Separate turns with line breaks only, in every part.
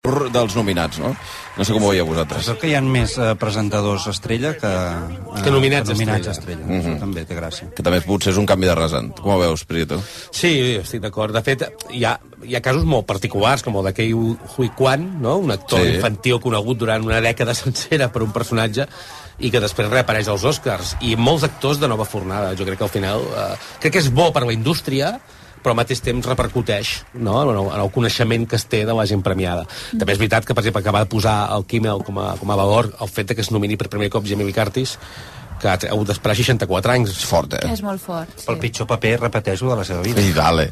tour dels nominats, no? No sé com ho veieu vosaltres.
Penseu que hi ha més eh, presentadors estrella que, eh,
Que nominats
nominats
estrella.
estrella. Això també té gràcia.
Que també potser és un canvi de rasant. Com ho veus, Prieto?
Sí, estic d'acord. De fet, hi ha, hi ha casos molt particulars, com el de Kei Hui Kwan, no? un actor
Sí.
sí. infantil conegut durant una dècada sencera per un personatge i que després reapareix als Oscars. I molts actors de nova fornada. Jo crec que al final... Eh, crec que és bo per la indústria, però al mateix temps repercuteix no? en, el, en el coneixement que es té de la gent premiada. Mm. També és veritat que, per exemple, que va posar el Kimmel com a, com a valor el fet de que es nomini per primer cop Jamie Lee Curtis, que ha hagut d'esperar 64 anys.
És fort, eh?
És molt fort. Sí.
Pel pitjor paper, repeteixo, de la seva vida.
I dale.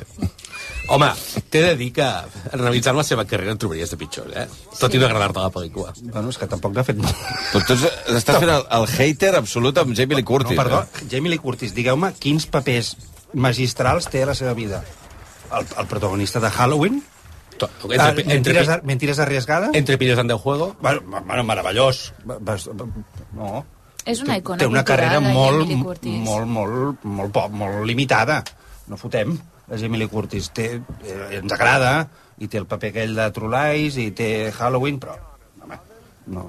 Home, t'he de dir que analitzant la seva carrera en trobaries de pitjor, eh? Tot i no agradar-te la pel·lícula.
Bueno, és que tampoc n'ha fet molt.
Tu, tu estàs fent el, el hater absolut amb Jamie Lee
No,
Curtis.
perdó,
Eh?
Jamie Lee Curtis, digueu-me quins papers magistrals té a la seva vida. El, el protagonista de Halloween?
To-
Ah,
Entre, entre,
mentides,
entre,
mentides arriesgades?
entre pillos en del juego...
Bueno, ma- bueno, meravellós. Va- vas- va- No.
És una icona
Té una
cultural,
carrera
la
molt,
Emily Curtis.
molt, molt, molt, poc, molt limitada. No fotem. La Jamie Lee Curtis té, eh, ens agrada, i té el paper aquell de True Lies, i té Halloween, però, home, no,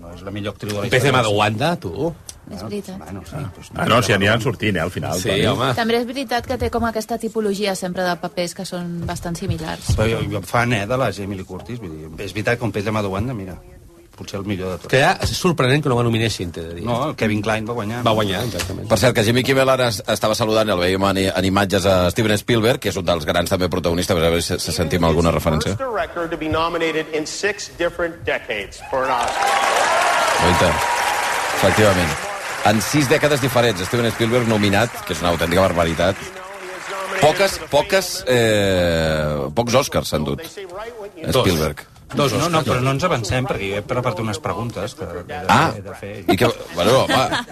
no és la millor actriu de la
Un
història.
PCM de Wanda, tu?
És veritat.
Bueno, sí, doncs,
Ah, no, si aniran sortint, eh, al final.
Sí,
Toni.
home.
També és veritat que té com aquesta tipologia sempre de papers que són bastant similars.
Però jo, jo em fan, eh, de la Jamie Lee Curtis. Vull dir, és veritat que un Pedro Maduanda, mira, potser el millor de tots.
Que ja és sorprenent que no la nominessin, t'he de dir.
No, el Kevin Klein va guanyar.
Va guanyar, exactament.
Per cert, que Jimmy Kimmel ara es- estava saludant, el veiem en, en imatges a Steven Spielberg, que és un dels grans també protagonistes, a veure si se sentim alguna referència.
director to be nominated in six different decades for an Oscar.
Oita. Efectivament. En sis dècades diferents, Steven Spielberg nominat, que és una autèntica barbaritat. Poques, poques, eh, pocs Oscars s'han dut, Spielberg.
Dos
No, no,
Oscars.
però no ens avancem, perquè jo he preparat unes preguntes que he de,
Ah,
he de fer.
i que... Bueno, home.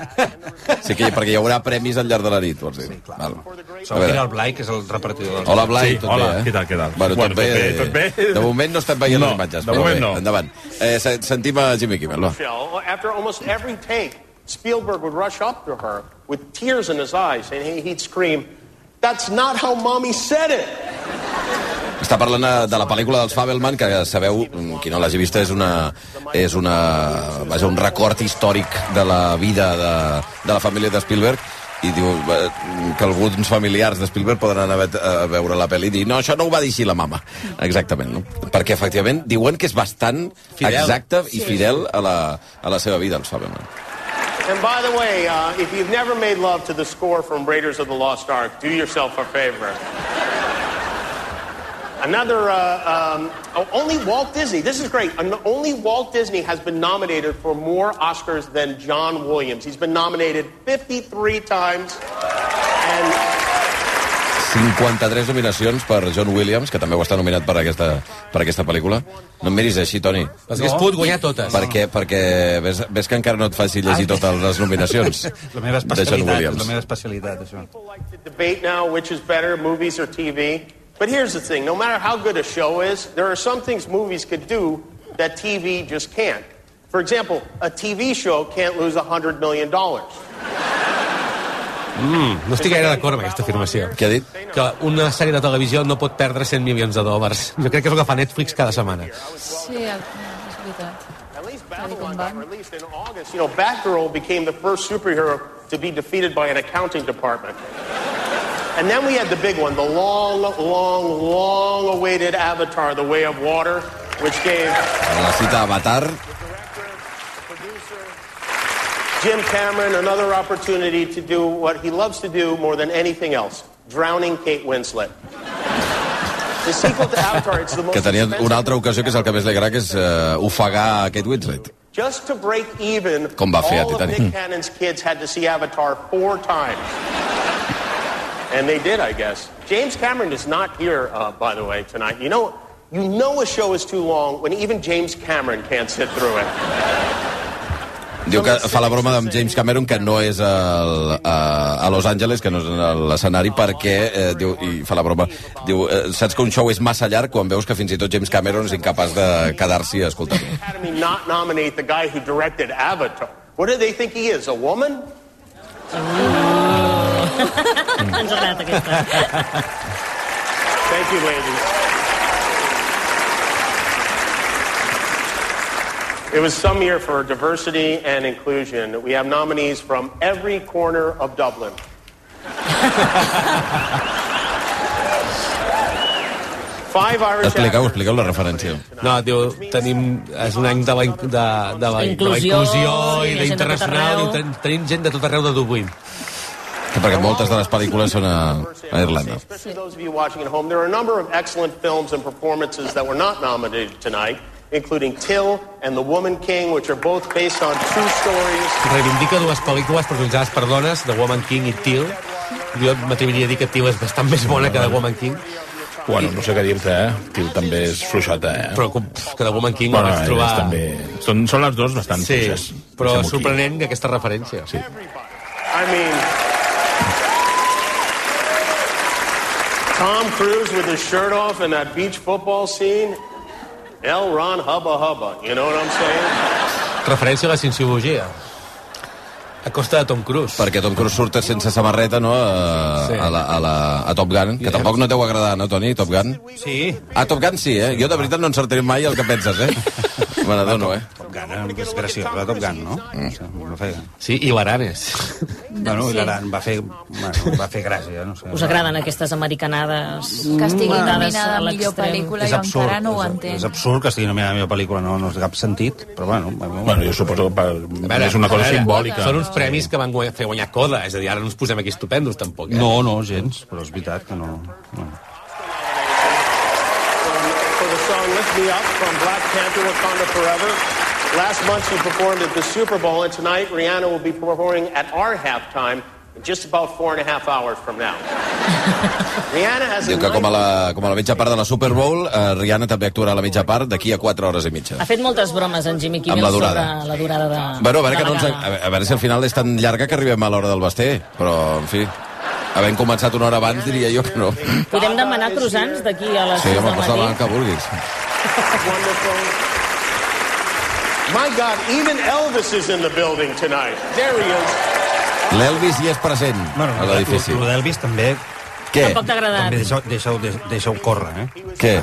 Sí que, perquè hi haurà premis al llarg de la nit, vols dir? Val. A
Sóc
veure.
era el Blai, que és el repartidor del...
Hola, Blai,
Sí,
tot
hola,
bé, eh?
què tal, què tal?
Bueno, tot,
Bueno,
bé,
tot bé, tot bé.
De moment no estem veient
No,
les imatges,
de
però
moment
bé,
no.
endavant. Eh, se- sentim a Jimmy Kimmel, va.
Michelle, after almost every take, Spielberg would rush up to her with tears in his eyes, and he- he'd scream, "That's not how mommy said it."
Està parlant eh, de la pel·lícula dels Fabelman, que sabeu, mm, qui no l'hagi vista, és una... És una vaja, un record històric de la vida de, de la família de Spielberg i diu eh, que alguns familiars de Spielberg poden anar a, ve a veure la pel·li i dir no, això no ho va dir així la mama. Exactament, no? Perquè, efectivament, diuen que és bastant
Fidel.
exacte i fidel a la, a la seva vida, els Fabelman.
And by the way, uh, if you've never made love to the score from Raiders of the Lost Ark, do yourself a favor. Another, uh, um, oh, only Walt Disney, this is great. An- only Walt Disney has been nominated for more Oscars than John Williams. He's been nominated 53 times. And
53 nominacions per John Williams, que també ho està nominat per aquesta, per aquesta pel·lícula. No em miris així, Toni.
Les hagués pogut guanyar totes.
Perquè, perquè ves, ves que encara no et faci llegir totes les nominacions
Ah, La
de
meva
John
especialitat, és la
Williams.
meva especialitat, això.
people like to debate now which is better, movies or TV. But here's the thing no matter how good a show is, there are some things movies could do that TV just can't. For example, a TV show can't lose $100 million.
Mm, No estic gaire d'acord amb aquesta afirmació.
Què ha dit?
Que una sèrie de televisió no pot perdre 100 milions de dòlars. Jo crec que és el que fa Netflix cada setmana.
Sí, el- és veritat.
At least
Tell you
Babylon
come
got
back.
released in August. You know, Batgirl became the first superhero to be defeated by an accounting department. And then we had the big one, the long, long, long awaited Avatar, The Way of Water, which gave
A la cita Avatar,
Jim Cameron another opportunity to do what he loves to do more than anything else drowning Kate Winslet. The sequel to Avatar, it's the most
que tenia
expensive-
una altra ocasió que és el que més li agrada, que és uh, ofegar Kate Winslet.
Just to break even,
Com va fer a
all of
Titanic.
Nick Cannon's kids had to see Avatar four times. and they did, I guess. James Cameron is not here, uh, by the way, tonight. You know, you know a show is too long when even James Cameron can't sit through it.
Diu que fa la broma amb James Cameron que no és el, a, a Los Angeles, que no és a l'escenari, perquè, eh, diu, i fa la broma, diu, eh, saps que un show és massa llarg quan veus que fins i tot James Cameron és incapaç de quedar-s'hi a escoltar-lo.
Academy not nominate the guy who directed Avatar. What do they think he is, a woman?
Ens ha agradat aquesta.
Ah,
Thank you, ladies. It was some year for diversity and inclusion. We have nominees from every corner of Dublin. Five Irish
Expliqueu,
actors
expliqueu la referència.
No, diu, tenim, és un any de la, in- de, de la, de la
Inclusió,
inclusió i de
i gent de tot
internacional.
arreu.
I ten, tenim gent de tot arreu de Dublín.
Que perquè moltes de les pel·lícules són a, a Irlanda.
Especially those of you watching at home, there are a number of excellent films and performances that were not nominated tonight, including Till and The Woman King, which are both based on true stories.
Reivindica dues pel·lícules protagonitzades per dones, The Woman King i Till. Jo m'atreviria a dir que Till és bastant més bona que The Woman King,
Bueno, no sé què dir-te, eh? Tio, també és fluixota, eh?
però com- pff, que The Woman King
bueno,
la vaig trobar...
és també... Són, són les dues bastant
Sí,
fluixes.
però
Deixem-ho aquí.
sorprenent que aquesta referència. Sí.
I mean, Tom Cruise with his shirt off in that beach football scene. L. Ron Hubba Hubba, you know what I'm saying?
Referència a la cienciologia. A costa de Tom Cruise.
Perquè Tom Cruise surt sense samarreta, no?, a,
Sí.
a, la, a, la, a Top Gun, que tampoc no et deu agradar, no, Toni, Top Gun?
Sí,
A Top Gun sí, eh? Jo de veritat no encertaré mai el que penses, eh? Me n'adono, eh?
Top Gun, eh? és graciós, la Top Gun, no? Mm. Va fer,
Sí, i l'Aranes.
bueno,
sí.
i l'Aran va fer, bueno, va fer gràcia, no sé.
Us agraden aquestes americanades?
Que estigui
Dades
nominada
a
a millor
l'extrem.
pel·lícula, jo encara no ho
és,
entenc.
és absurd que estigui nominada la meva pel·lícula, no, no és cap sentit, però bueno...
Bueno, jo suposo que per... és una cosa
a veure,
simbòlica.
Són uns premis que van guanyar, fer guanyar coda, és a dir, ara no ens posem aquí estupendos, tampoc. Eh?
No, no, gens, però és veritat que no... no.
For the song Lift Me Up from Black Panther Wakanda Forever. Last month she performed at the Super Bowl, and tonight Rihanna will be performing at our halftime in just about four and a half hours from now. Rihanna has
Diu que com a la,
enlightened-
com a la mitja part de la Super Bowl, eh, Rihanna també actuarà a la mitja part d'aquí a 4 hores i mitja.
Ha fet moltes bromes en Jimmy Kimmel
Amb la durada.
sobre la durada de,
Bueno, a veure,
de
que
la
no ens,
gala.
a, a veure si al final és tan llarga que arribem a l'hora del basté, però, en fi, havent començat una hora abans diria jo que no.
Podem demanar croissants d'aquí a les
Sí,
6
home,
del
pots demanar el
matí?
que vulguis.
wonderful. My God, even Elvis is in the building tonight. There he is.
L'Elvis hi és present, a l'edifici.
El d'Elvis també,
Què?
Tampoc t'ha agradat.
també deixeu, deixeu, deixeu córrer, eh?
Què?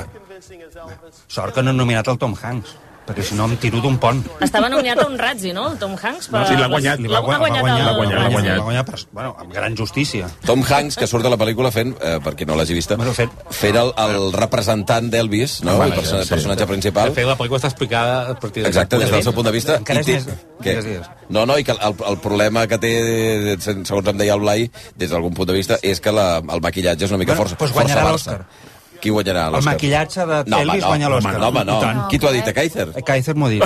Sort que no han nominat el Tom Hanks, perquè si no em tiro d'un pont.
Estava nominat a un Razzie, no? El Tom Hanks? Per...
No, sí, l'ha guanyat, li
Li va,
L'ha
gua- va
guanyat,
guanyar,
el-
va guanyar,
Ah,
l'ha
va
guanyat.
guanyar, va guanyar, però, bueno, amb gran justícia.
Tom Hanks, que surt de la pel·lícula fent, eh, per qui no l'hagi vista,
Bueno, fet- Ah,
fent el, el representant d'Elvis, no? el perso
sí.
personatge
De
principal.
fet, la pel·lícula està explicada a partir
Exacte, des del seu punt de vista.
Encara
i
és
té-
més-
Què?
digues, digues.
No, no, i que el, el problema que té, segons em deia el Blai, des d'algun punt de vista, és que la, el maquillatge és una mica
Bueno,
força,
doncs guanyarà
força
l'Òscar.
barça. Qui guanyarà l'Òscar?
maquillatge de
no, home,
Elvis
no,
guanya l'Òscar.
No, home, no.
I tant.
Qui t'ho ha dit, a Kaiser?
Eh, Kaiser m'ho ha dit.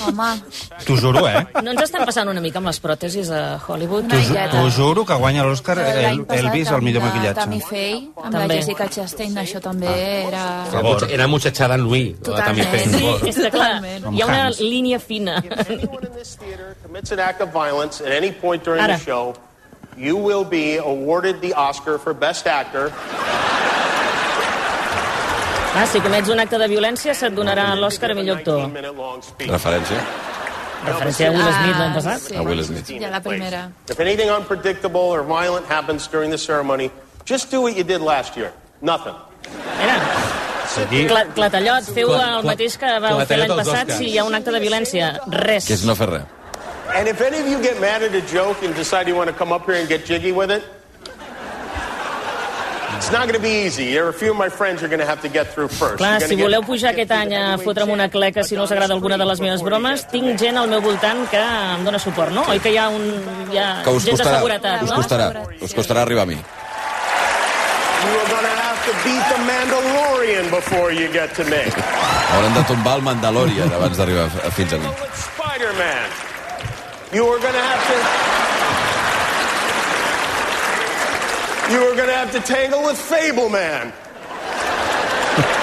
Home,
T'ho juro, eh?
No ens estan passant una mica amb les pròtesis a Hollywood?
Una
T'ho ju-
miqueta.
t'ho juro que guanya l'Òscar
l'any
el,
passat
Elvis
amb
el millor
la Tammy
maquillatge.
Faye, amb la
També.
Jessica Chastain, això també
Ah.
era...
favor. Era mutxatxada en Louis. Totalment.
Totalment.
També
És que, clar,
Totalment.
hi ha una
Tom Hanks.
línia fina.
If anyone in this theater commits an act of violence at any point during
Ara.
the show, you will be awarded the Oscar for Best Actor.
Ah, si comets un acte de violència se't donarà l'Òscar a millor actor.
19
Ah,
minute long speech.
Referència?
Referència a Will Smith l'any passat.
sí.
A Will Smith.
Ja la primera.
If anything unpredictable or violent happens during the ceremony, just do what you did last year. Nothing.
Era. Cla Clatallot, feu
Cla-
el
cla-
mateix que vau fer
Clatallot
l'any
als
passat
Oscars.
si hi ha un acte de violència. Res.
Que és no fer res.
And if any of you get mad at a joke and decide you want to come up here and get jiggy with it, it's not going to be easy. There are a few of my friends you're going to have to get through first.
Clar,
You're gonna
si
get-
voleu pujar aquest any a fotre'm una cleca si no us agrada alguna de les meves bromes, tinc gent al meu voltant que em dona suport, no? Oi que hi ha, un, hi ha
Que us
gent de
costarà,
seguretat,
us
no?
costarà, us costarà arribar a mi.
You are going to have to beat the Mandalorian before you get to me.
Haurem de tombar el Mandalorian abans d'arribar f- fins a mi.
With Spider-Man, you are going to have to. You are going to have to tangle with Fableman,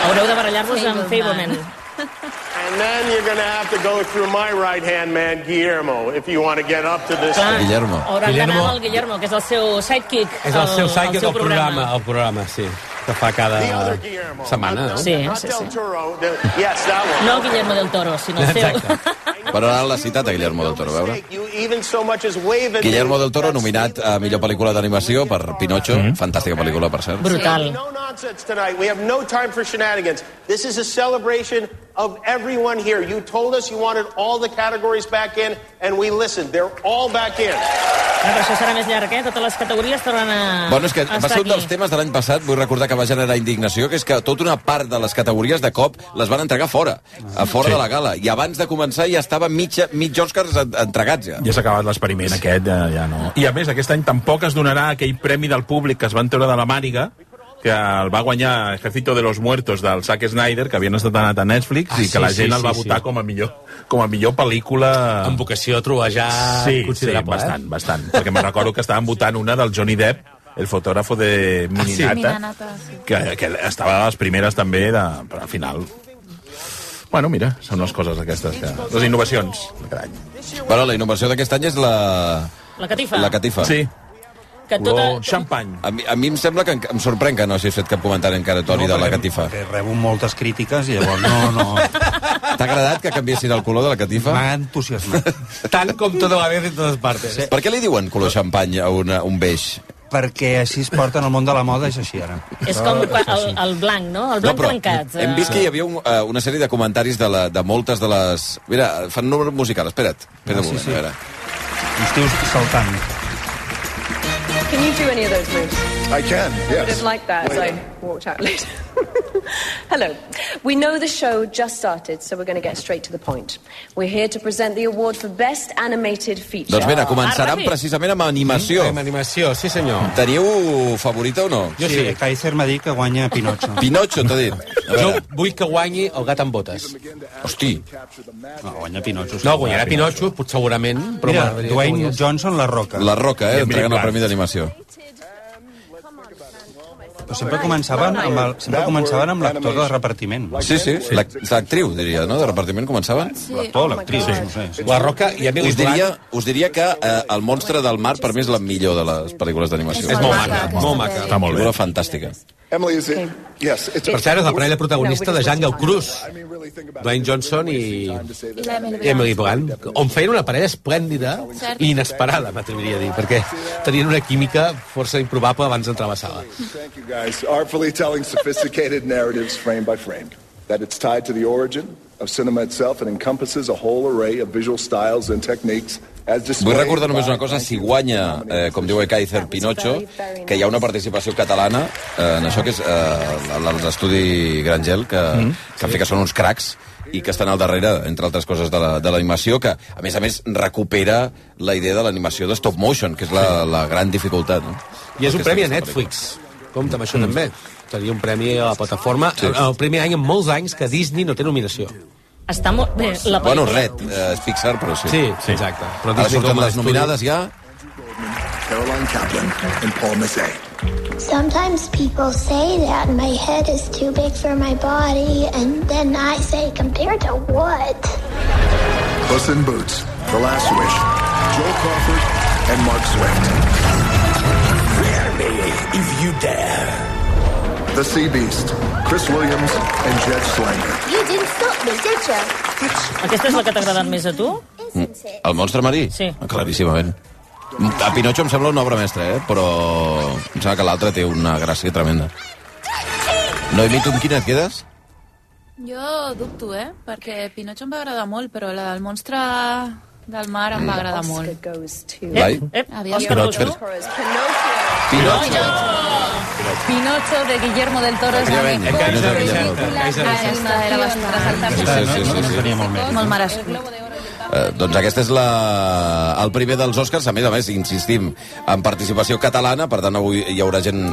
Haureu de barallar-vos amb Fableman.
and then you're going to have to go through my right-hand man Guillermo if you want to get up to this.
Clar,
Guillermo.
hauran d'anar
Guillermo.
amb el Guillermo, que és el seu sidekick.
És el seu sidekick
al seu
del programa. El programa, sí. Que fa cada
The other Guillermo.
setmana,
Ah,
Not-
no?
Sí,
not
sí,
Del
sí.
Toro. The, yes, that one.
No Guillermo del Toro, sinó el seu.
Exacte.
Però ara l'ha citat, a Guillermo del Toro, a veure.
You even so much as wave at me.
Mm. Guillermo del Toro, nominat a millor pel·lícula d'animació per Pinocho, fantàstica pel·lícula, per cert.
Brutal.
No concerts tonight. We have no time for shenanigans. This is a celebration of everyone here. You told us you wanted all the categories back in, and we listened. They're all back in.
Ah, però això serà més llarg, eh? Totes les categories tornen a
Bueno, és que
a
va
estar
ser un dels
Ah, aquí.
temes de l'any passat, vull recordar que va generar indignació, que és que tota una part de les categories de cop les van entregar fora, a fora sí. de la gala. I abans de començar ja estava mitja, mig Oscars en- entregats ja.
Ja s'ha acabat l'experiment aquest, ja, ja no. I a més, aquest any tampoc es donarà aquell premi del públic que es van treure de la màniga, que el va guanyar Ejército de los Muertos del Zack Snyder, que havien estat anat a Netflix,
Ah,
i que la
sí,
gent
sí,
el va
sí,
votar
sí.
com a millor com a millor pel·lícula...
Amb vocació a trobejar
sí, sí,
considerable,
bastant, bastant. Perquè me'n recordo que estaven votant una del Johnny Depp, el fotògrafo de
Ah,
Mininata,
Minanata, sí.
que, que estava a les primeres també, de, però al final... Bueno, mira, són les coses aquestes, que, les innovacions de cada any.
Bueno, la innovació d'aquest any és la,
La catifa.
la catifa.
Sí,
Que tota...
color xampany.
A mi, a mi em sembla que en- em sorprèn que no hagis fet cap comentari encara, Toni, no, de la
perquè-
catifa.
Perquè Eh, rebo moltes crítiques i llavors no, no.
T'ha agradat que canviessin el color de la catifa?
M'ha entusiasmat.
Tant com tota la vez en totes partes. Sí.
Per què li diuen color xampany a una, un beix?
perquè així es porta en el món de la moda, és així ara.
És
Ah,
com el, el blanc, no? El blanc trencat.
Hem vist que hi havia un, eh, una sèrie de comentaris de, la, de moltes de les... Mira, fan un número musical, espera't. Espera't
Ah,
un
sí,
moment,
sí.
a veure.
Uns tios saltant.
Can you do any of those moves?
I can,
I would
yes.
have liked that as I walked out later. Hello. We know the show just started, so we're going to get straight to the point. We're here to present the award for Best Animated Feature.
Doncs mira, començaran
ràpid.
precisament amb animació.
Amb animació, sí senyor.
Teniu favorita o no?
Jo sí.
Kaiser m'ha dit que guanya Pinocho.
Pinocho, t'ha dit. A
Jo
veure,
vull que guanyi el gat amb botes.
hosti,
No, guanya Pinocho. sí.
No, guanyarà Pinocho, pot segurament, però
Mira,
m'agradaria que
Dwayne
guanyés.
Johnson, La Roca.
la Roca, eh,
I Emily
entregant el
Blunt.
Premi d'Animació.
Però sempre començaven amb el, sempre començaven amb l'actor de repartiment.
Sí, sí, l'ac- l'actriu, diria, no?, de repartiment començaven.
L'actor, l'actriu, no sé.
La Roca i Emily
Us diria,
Blunt.
us diria que eh, El monstre del mar, per mi, és la millor de les pel·lícules d'animació.
És molt
maca,
maca,
aquesta
molt maca.
pel·li.
Està molt bé. Una fantàstica.
Emily, is it?
Okay.
Yes, it's
Per cert, és la parella protagonista de Jungle Cruz,
I mean, really think about
Dwayne
it.
Johnson i
I la Emily
Emily
Blunt.
Blunt, on feien una parella esplèndida
Cert.
i inesperada, m'atreviria a dir, perquè tenien una química força improbable abans d'entrar a la sala.
Thank you guys. Artfully telling sophisticated narratives frame by frame. That it's tied to the origin of cinema itself and encompasses a whole array of visual styles and techniques as
Vull
displayed
recordar només
by-
una cosa, si guanya, eh, com diu Kaiser Pinocho, que hi ha una participació catalana eh, en això que és eh, l'estudi Grangel, que,
Mm.
que en fi que són uns cracs i que estan al darrere, entre altres coses, de la- de l'animació, la, que, a més a més, recupera la idea de l'animació de stop motion, que és la, la gran dificultat. No?
I és un
Aquesta-
premi a
aquesta
Netflix. Compte amb això també. Tenia un premi a la plataforma. Sí. El primer any en molts anys que Disney no té nominació.
Està molt... Bé,
pel·lícula.
la
Bueno,
pel·lícula-
red, eh, és Pixar, però sí.
Sí, sí. exacte. Però
Ara
Disney
surten
com a
les
estudi-
nominades ja.
Caroline Kaplan and Paul Massey.
Sometimes people say that my head is too big for my body, and then I say, compared to what?
Puss in Boots, The Last Wish, Joel Crawford, and Mark Swift. if you dare. The Sea Beast, Chris Williams, and Jed Schlanger.
You didn't stop me, did you?
Aquesta és la que t'ha agradat més a tu?
Insensitive.
El monstre marí? Ah,
Sí.
Claríssimament. A Pinocho em sembla una obra mestra, eh? però em sembla que l'altra té una gràcia tremenda. Noemí, tu amb quina et quedes?
Jo dubto, eh? Perquè Pinocho em va agradar molt, però la del monstre del mar em va agradar
Oscar
molt. Eh,
goes to...
Vai.
Ep,
Aviam.
Òscar,
Però-
vols tu?
Horrors, Pinocchio.
Pinocho!
Pinocho de Guillermo del Toro és la
Efectivament,
mejor
Pinocho de
película
Guillermo del Toro.
Aquesta era bastant
Sí,
resaltable.
sí, sí, sí, sí.
Tenia molt més.
Molt merescut.
Eh, doncs aquesta és la... el primer dels Oscars, a més a més, insistim, en participació catalana, per tant avui hi haurà gent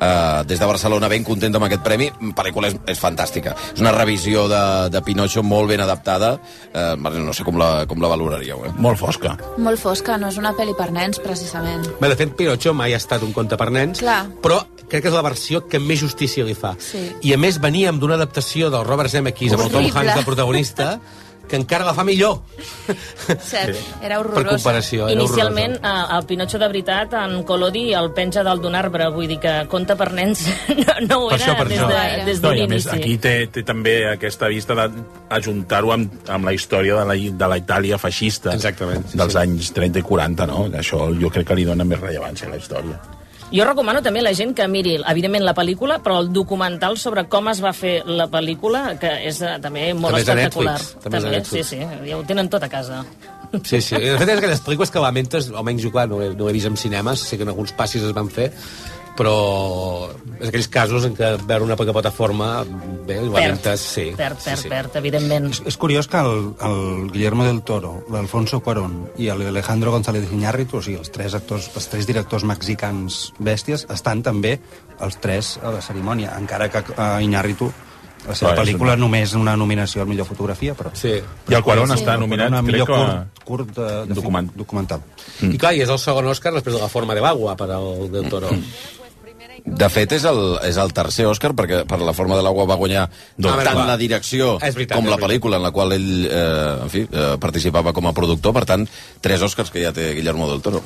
eh, des de Barcelona ben contenta amb aquest premi, la pel·lícula és, és fantàstica, és una revisió de, de Pinocho molt ben adaptada, eh, no sé com la, com la valoraríeu. Eh?
Molt fosca.
Molt fosca, no és una pel·li per nens, precisament.
Bé, de fet, Pinocho mai ha estat un conte per nens,
Clar.
però crec que és la versió que més justícia li fa.
Sí.
I a més veníem d'una adaptació del Robert Zemeckis amb el Tom
Horrible.
Hanks de protagonista que encara la fa millor.
Cert,
Per
era horrorosa.
comparació, era
Inicialment,
horrorosa.
eh, el Pinotxo de veritat, en Colodi, el penja dalt d'un arbre. Vull dir que conta per nens no, no ho
Per
era
això, per
des,
això.
de, des
No,
d'un
i a més,
inici.
aquí té, té també aquesta vista d'ajuntar-ho amb, amb la història de la, de la Itàlia feixista
Exactament, sí,
dels
sí.
anys 30 i 40, no? Això jo crec que li dona més rellevància a la història.
Jo recomano també a la gent que miri, evidentment, la pel·lícula, però el documental sobre com es va fer la pel·lícula, que és eh, també molt
També és a
espectacular.
Netflix, també és a
sí,
Netflix.
sí, ja ho tenen tot a casa.
Sí, sí. De fet, és aquelles pel·lícules que lamentes, almenys jo, clar, no he, no he vist en cinemes, sé que en alguns passis es van fer, però és aquells casos en què veure una poca plataforma, bé, ho lamentes, sí.
Perd, perd,
sí, sí.
perd, evidentment.
És curiós que el, el Guillermo del Toro, l'Alfonso Cuarón i el Alejandro González Iñárritu, o sigui, els tres, actors, els tres directors mexicans bèsties, estan també els tres a la cerimònia, encara que a Iñárritu la
Clar,
seva
és
pel·lícula
un-
només una nominació al millor fotografia, però...
Sí.
I el Cuarón està
el
nominat,
a
crec
millor
que a-
curt, curt de, de film,
Document.
documental.
I clar, i és el segon Òscar després de la forma de Bagua per al del Toro.
De fet, és el, és el tercer Òscar, perquè per la forma de l'aigua va guanyar
Ah,
doncs,
bé,
tant
clar.
la direcció
És veritat,
com
és
la
veritat.
pel·lícula en la qual ell eh, en fi, eh, participava com a productor. Per tant, tres Òscars que ja té Guillermo del Toro.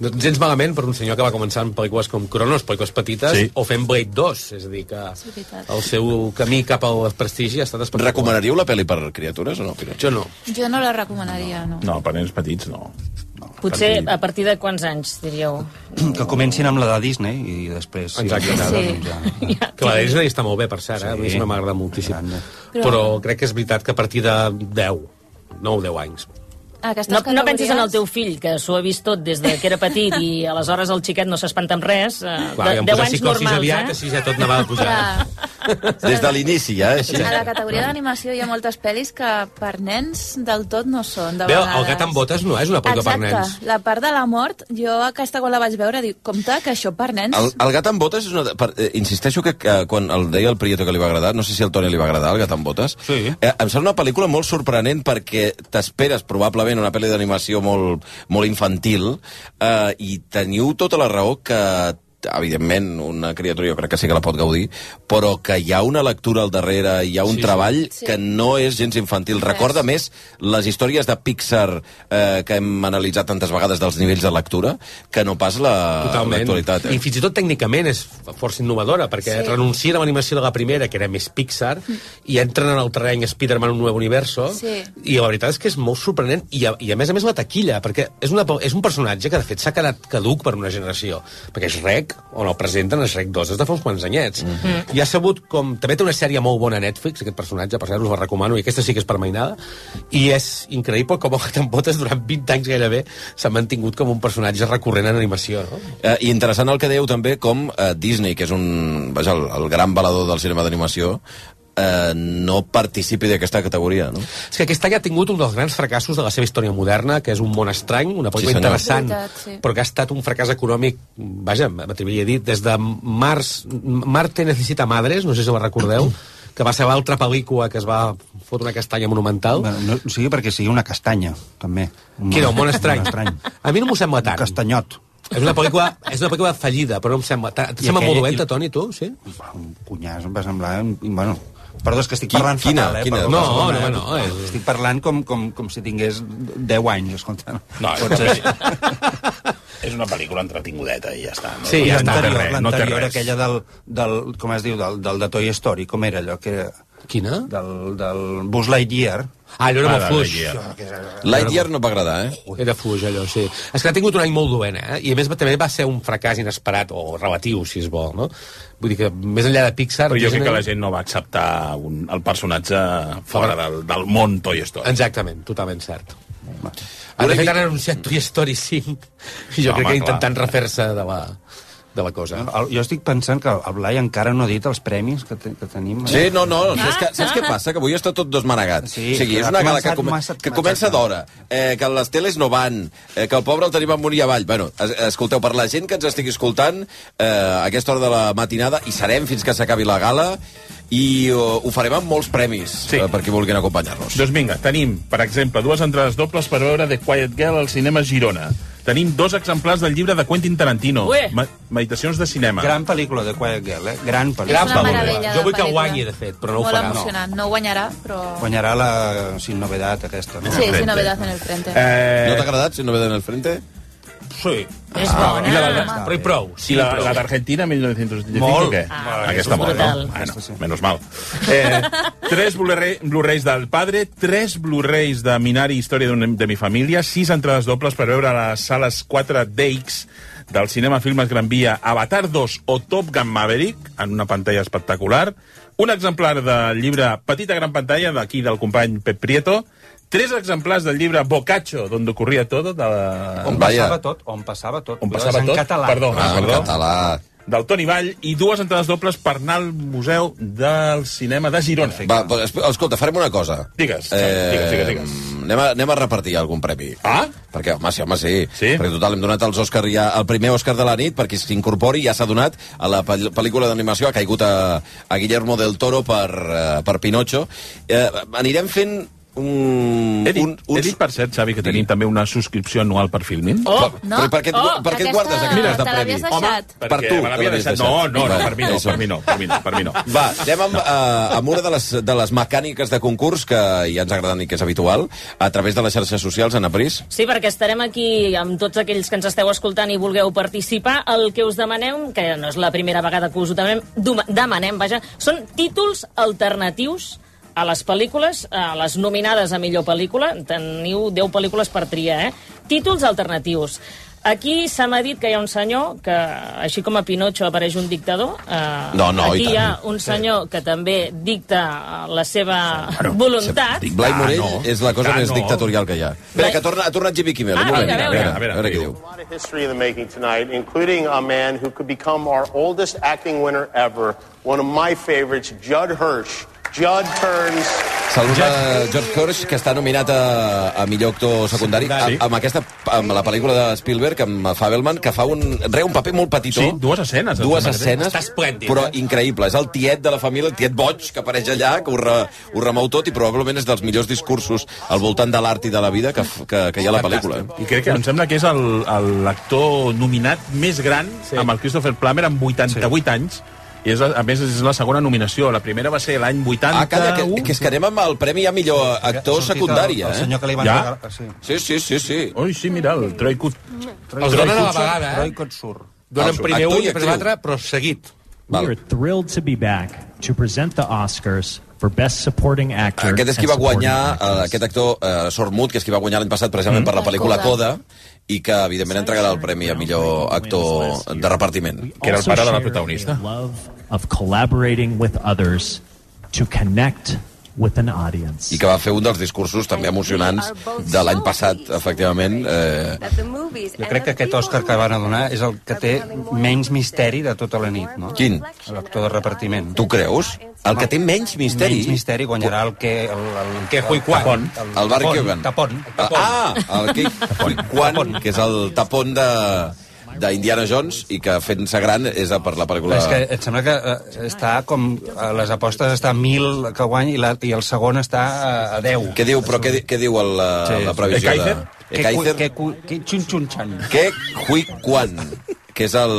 No, gens malament per un senyor que va començar amb pel·lícules com Cronos, pel·lícules petites,
Sí.
sí. o fent Blade 2, és a dir, que el seu camí cap al prestigi ha estat espectacular.
Recomanaríeu la pel·li per criatures o no?
Jo no.
Jo no la recomanaria, no.
No, per nens petits no.
Potser a partir de quants anys, diríeu?
Que comencin amb la de Disney i després... si
Exacte.
els agrada,
Sí.
doncs ja.
Que la Disney està molt bé, per cert, eh? a mi
Sí.
això m'agrada moltíssim.
Però-
Però crec que és veritat que a partir de 10, 9 10 anys.
Aquestes
No, no
categories-
pensis en el teu fill, que s'ho ha vist tot des de que era petit i aleshores el xiquet no s'espanta amb res. Eh,
Clar,
de,
ja em
10
posar
anys
psicosis
normals,
aviat,
eh?
així ja tot anava a posar.
Clar.
Des de l'inici, ja, eh, així.
A la categoria d'animació hi ha moltes pel·lis que per nens del tot no són, de
Veu,
vegades.
el gat amb botes no és una pel·lícula per
Exacte.
nens.
la part de la mort, jo aquesta quan la vaig veure dic, compte que això per nens...
El, el gat amb botes és una... de- Per, eh, insisteixo que, que quan el deia el Prieto que li va agradar, no sé si al Toni li va agradar el gat amb botes, sí. eh, em sembla una pel·lícula molt sorprenent perquè t'esperes probablement una pel·li d'animació molt, molt infantil eh, i teniu tota la raó que evidentment, una criatura jo crec que sí que la pot gaudir, però que hi ha una lectura al darrere, hi ha un
Sí, sí.
sí, treball
Sí.
sí. que no és gens infantil. Recorda més les històries de Pixar eh, que hem analitzat tantes vegades dels nivells de lectura que no pas la-
Totalment.
Ah, l'actualitat. eh?
I fins i tot tècnicament és força innovadora, perquè
Sí.
sí. renuncia a l'animació de la primera, que era més Pixar, i entren en el terreny Spider-Man un nou universo,
Sí.
i la veritat és que és molt sorprenent, i a, i a més a més la taquilla, perquè és, una, pe- és un personatge que de fet s'ha quedat caduc per una generació, perquè és Rec, on el presenten, és Rec 2, és de fa uns quants anyets.
Mm.
I ha sabut com... També té una sèrie molt bona a Netflix, aquest personatge, per cert, us la recomano, i aquesta sí que és permainada, i és increïble com el que te'n botes durant 20 anys gairebé s'ha mantingut com un personatge recurrent en animació, no?
Eh, I interessant el que dèieu també com eh, Disney, que és un, vaja, el, el gran balador del cinema d'animació, eh, no participi d'aquesta categoria, no?
És que aquest any ha tingut un dels grans fracassos de la seva història moderna, que és un món estrany, una pel·lícula
Sí,
sí,
senyor.
interessant,
Veritat, sí.
però que ha estat un fracàs econòmic, vaja, m'atreviria a dir, des de març... Marte necessita madres, no sé si la recordeu, que va ser l'altra pel·lícula que es va fotre una castanya monumental.
Bueno, no, sigui perquè sigui una castanya, també.
Que era un món estrany. A mi no m'ho sembla tant.
Castanyot.
És una pel·lícula, és una pel·lícula fallida, però no em sembla... tant. Et
I
sembla
aquella-
molt dolenta, Toni, tu? Sí?
Cunyàs, em va semblar... un- Bueno, perdó, és que estic
Qui-
parlant
quina-
fatal, eh?
quina?
Perdó,
No,
perdó,
no,
eh?
no, eh.
Estic parlant com, com, com si tingués 10 anys, escolta.
No, és,
Potser-
és una pel·lícula entretingudeta i ja està. No,
I
no,
l'anterior-
té res, no té
L'anterior,
res.
aquella del, del, com es diu, del, del de Toy Story, com era allò? Que era?
Quina?
Del, del Buzz Lightyear.
Ah, allò era molt fluix.
Lightyear no va agradar, eh?
Era fluix, allò, sí. És que ha tingut un any molt dolent, eh? I a més també va ser un fracàs inesperat, o relatiu, si es vol, no? Vull dir que més enllà de Pixar...
Però jo crec
Disney-
que la gent no va acceptar un, el personatge fora del, del món Toy Story.
Exactament, totalment cert. Ara, de fet, han anunciat Toy Story 5, i jo
No,
crec
home,
que intentant
clar.
refer-se de la, de la cosa.
El, jo estic pensant que el Blai encara no ha dit els premis que, te, que tenim. eh?
Sí, no, no, saps, que, saps què passa? Que avui està tot desmanegat.
Sí,
o sigui, és
ha
una gala
començat
que, com,
massa-
que comença d'hora, eh, que les teles no van, eh, que el pobre el tenim amunt i avall. Bueno, es, escolteu, per la gent que ens estigui escoltant, eh, a aquesta hora de la matinada, hi serem fins que s'acabi la gala, i eh, ho farem amb molts premis, sí. eh, per qui vulguin acompanyar-nos.
Doncs vinga, tenim, per exemple, dues entrades dobles per veure The Quiet Girl al cinema Girona. Tenim dos exemplars del llibre de Quentin Tarantino,
Ué!
Me Meditacions de cinema.
Gran pel·lícula de Quiet Girl, eh? Gran pel·lícula.
És una meravella de
Jo vull que
pel·lícula.
guanyi, de fet, però no ho
Molt
farà.
emocionant. No. guanyarà, però...
Guanyarà la Sin Novedad aquesta, no? Eh,
Sí, sin novedad en el frente.
No t'ha agradat, si no ve en el frente?
Sí.
És bona.
Ah, I la del-
eh, Però hi prou.
I
Sí,
la,
prou.
la d'Argentina, 1985,
Molt.
o què?
Ah,
Aquesta
és
molt,
brutal.
no? Bueno, menos mal. Eh, tres Blu-ray- Blu-rays del padre, tres Blu-rays de Minari, història d'un- de mi família, sis entrades dobles per veure a les sales 4DX del cinema Filmes Gran Via, Avatar 2 o Top Gun Maverick, en una pantalla espectacular, un exemplar del llibre Petita Gran Pantalla, d'aquí del company Pep Prieto, tres exemplars del llibre Bocacho, d'on ocorria tot, de...
On passava tot, on passava tot.
On
Cuidado,
passava
és en
tot?
Català.
Perdó,
Ah, en
perdó.
català.
del Toni Vall i dues entrades dobles per anar al Museu del Cinema de Girona.
Va, pues, esp- escolta, farem una cosa.
Digues, digues, digues, digues.
Eh, Anem a, anem a repartir algun premi.
Ah?
Perquè, home, sí, home, sí. sí? Perquè, total, hem donat els Òscar ja... El primer Òscar de la nit, perquè s'incorpori, ja s'ha donat a la pel- pel·lícula d'animació, ha caigut a, a Guillermo del Toro per, eh, per Pinocho. Eh, anirem fent un...
He dit,
un,
he dit, per cert, Xavi, que tenim també una subscripció anual per Filmin.
Oh, no. Però per què et gu-
Oh,
per què et guardes
aquesta
aquestes de
te
premi?
l'havies deixat.
Home, per tu
Me l'havia
te l'havies
deixat. No,
deixat.
no, no,
Vale,
per mi no,
això.
per mi no, per mi no, per mi no.
Va, anem amb, eh, amb una de les, de les mecàniques de concurs que ja ens agraden i que és habitual, a través de les xarxes socials, Ana Pris.
Sí, perquè estarem aquí amb tots aquells que ens esteu escoltant i vulgueu participar. El que us demanem, que no és la primera vegada que us ho demanem, duma- demanem vaja, són títols alternatius a les pel·lícules, a les nominades a millor pel·lícula. Teniu 10 pel·lícules per triar, eh? Títols alternatius. Aquí se m'ha dit que hi ha un senyor que, així com a Pinocho apareix un dictador, eh,
No, no,
aquí
i
hi ha
tant.
un senyor que també dicta eh, la seva voluntat.
Blai Morell no. és la cosa
Ah,
més
no.
dictatorial que hi ha. Espera, que torna, ha tornat Jimmy Kimmel.
Ah,
un moment,
mira,
a
mira,
veure, a
mira,
veure, a veure què diu.
A lot of history in the making tonight, including a man who could become our oldest acting winner ever. One of my favorites, Judd Hirsch. Judd turns.
Saluda George Kirsch, que està nominat a, a millor actor secundari,
Secundari.
a, amb, aquesta, amb la pel·lícula de Spielberg, amb Fabelman, que fa un, re, un paper molt petitó.
Sí, dues escenes. em
dues
sembla que té.
escenes,
Està esplèndid,
però
eh?
increïble. És el tiet de la família, el tiet boig, que apareix allà, que ho, re, ho remou tot, i probablement és dels millors discursos al voltant de l'art i de la vida que, f- que, que hi ha a la pel·lícula. eh?
I crec que em sembla que és el- el- l'actor nominat més gran sí. amb el Christopher Plummer amb 88 sí. anys. I és, la- a més, és la segona nominació. La primera va ser l'any 81.
Ah, calla, que, que és que anem amb el premi a millor actor
Ha sortit
secundari,
El, el senyor
eh?
que li van
Ja?
regalar... Sí.
Sí, sí, sí, sí.
Ui, sí, mira, el Troy Kut...
Els donen a la vegada,
Roy
eh?
Kotsur.
Ah,
Donen primer
actor
un
i
i després
actriu.
l'altre, però seguit.
Val.
thrilled to be back to present the Oscars for Best Supporting
Ah,
Actor.
Aquest és qui
and
va
Supporting
guanyar,
Actress.
eh, aquest actor eh, Sormut, que és qui va guanyar l'any passat
Mm.
precisament per la pel·lícula Coda, i que, evidentment, entregarà el premi a millor actor de repartiment.
que era el
Also
pare de la
share
protagonista.
a Love of collaborating with others to connect with an audience.
I que va fer un dels discursos també emocionants de l'any passat, efectivament. Eh,
Jo crec que aquest Òscar que van a donar és el que té menys misteri de tota la nit, no?
Quin?
L'actor de repartiment.
tu creus? El que té menys misteri...
Menys misteri guanyarà el que... El, el, el
Que Hui Quan.
El Barry Keoghan.
Tapon. Tapon.
Ah, el Kei Kwan, que és el tapon de d'Indiana Jones i que fent-se gran és per la pel·lícula...
És que et sembla que eh, està com... A les apostes està a 1.000 que guany i, la, i el segon està a, a 10.
Què diu, però què, di- què diu el, Ah, la,
Sí.
la previsió
Ekaizer?
de... Ekaizer?
Que, que, que, xun, xun, xan.
que Hui Kwan, que és el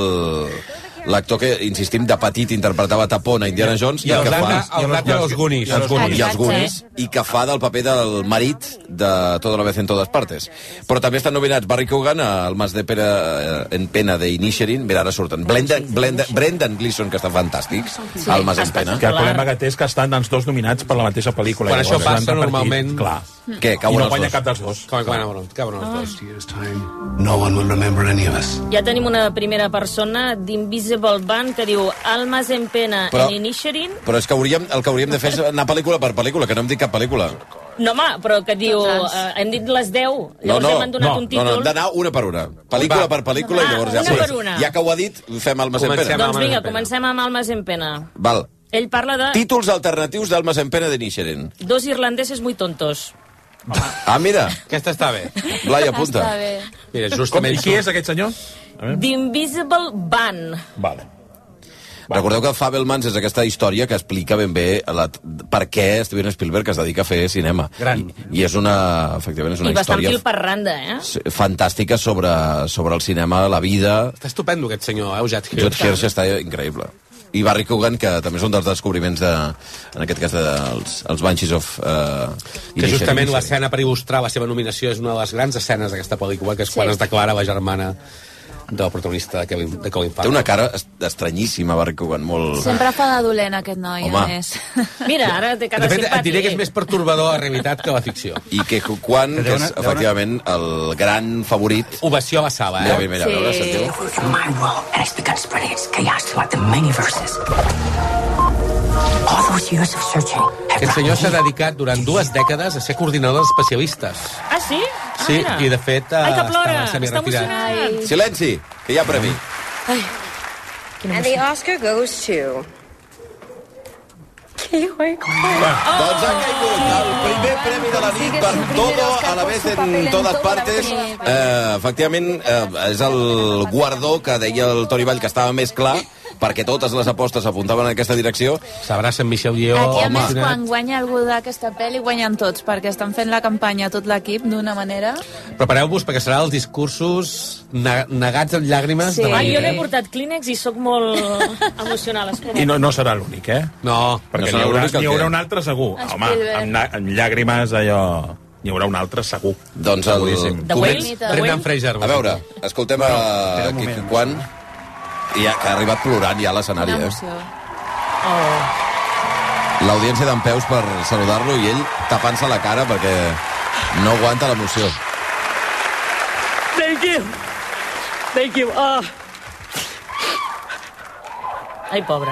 l'actor que, insistim, de petit interpretava Tapón a Indiana Jones i,
I el
el que fa...
Dana, el Dana dels Goonies.
I
Els
els
Exacte.
Goonies, i que fa del paper del marit de Toda la vez en todas partes. Però també estan nominats Barry Cogan, el mas de Pere eh, en pena de Inisherin, mira, ara surten, Brendan, Brendan, Brendan Gleeson, que està fantàstic, el mas en pena.
Que el problema que té és que estan els dos nominats per la mateixa pel·lícula.
Quan això
Llavors,
passa,
han repartit,
normalment-
Clar.
Què,
I
cauen
no guanya
els
cap
dos?
dels dos.
Com, com, cabron, els dos.
No one will remember any of us.
Ja tenim una primera persona d'Invisible Band que diu Almas en pena
Però-
Però... en Inisherin.
Però és que hauríem, el que hauríem de fer és anar pel·lícula per pel·lícula, que no hem dit cap pel·lícula.
No, home, però que diu...
Tots els.
Eh, hem dit les 10,
No,
llavors
no,
ja m'han donat
no,
un
no,
títol.
no, hem d'anar una per una. Pel·lícula
Va.
per pel·lícula i
Ah,
llavors
una
ja...
per una.
Ja que ho ha dit, fem el Mas en
Comencem
Pena.
amb-
Doncs
Almas
vinga, Ah.
en pena.
comencem amb Almas en pena.
Val.
Ell parla de
Títols alternatius del Mas en Pena de Nixeren.
dos irlandeses muy tontos.
Ah, mira,
Aquesta està bé.
Blai, apunta.
Està bé.
Mira,
Com,
justament...
I qui és aquest senyor?
The Invisible Band.
Vale.
Recordeu que Fabelmans és aquesta història que explica ben bé la, per què Steven Spielberg es dedica a fer cinema.
Gran.
I, i és una, efectivament, és una
I bastant
història
fil per randa, eh?
s- fantàstica sobre, sobre el cinema, la vida...
Està estupendo, aquest senyor, eh, Eugène
Judd
Hirsch.
Hirsch està increïble. i Barry Coogan, que també és un dels descobriments, de, en aquest cas, dels els Banshees of... Uh,
Que justament l'escena per il·lustrar la seva nominació és una de les grans escenes d'aquesta pel·lícula, que és quan
Sí.
es declara la germana del protagonista de Kevin, de Colin Farrell.
Té una cara est- estranyíssima, Barry Coogan, molt...
Sempre fa de dolent aquest noi,
Home.
a més.
Mira, ara té
De fet, et diré que és més pertorbador a la realitat que la ficció.
I que quan, que és, efectivament, el gran favorit...
Ovació a la sala, eh?
Ja, mira, mira, a veure, sentiu.
Manuel and his conspirators chaos throughout the many verses. All those years of searching
Aquest senyor s'ha dedicat durant dues dècades a ser coordinador d'especialistes.
Ah, sí? Ah,
Sí,
mira.
i de fet...
Ai, que
eh,
plora!
estava
Està
semiretirat.
emocionat!
Silenci, que hi ha premi.
And the Oscar goes to.
Doncs ha caigut el primer premi de la nit per Todo a la vez en todas partes. Eh, efectivament, eh, és el guardó que deia el Toni Vall que estava més clar perquè totes les apostes apuntaven en aquesta direcció.
S'abraça en Michel Lleó.
Aquí, a més, quan guanya algú d'aquesta pel·li, guanyen tots, perquè estan fent la campanya tot l'equip d'una manera.
Prepareu-vos perquè serà els discursos ne- negats amb llàgrimes de la
Ah, jo n'he
nit. eh?
portat Kleenex i sóc molt emocional. espera.
I no, no serà l'únic, eh?
No.
Perquè
No
n'hi
serà
haurà,
l'únic, el
n'hi haurà
que-
un altre segur.
Ah.
Home,
Spielberg.
amb, na- amb llàgrimes, allò... N'hi haurà un altre segur.
Doncs el...
Tu
Brendan Fraser. A veure, escoltem a Quico Quan, ja, que ha arribat plorant ja a l'escenari. Eh?
Oh.
L'audiència d'en Peus per saludar-lo i ell tapant-se la cara perquè no aguanta l'emoció.
Thank you! Thank you!
Uh,
Oh. Ai, pobre.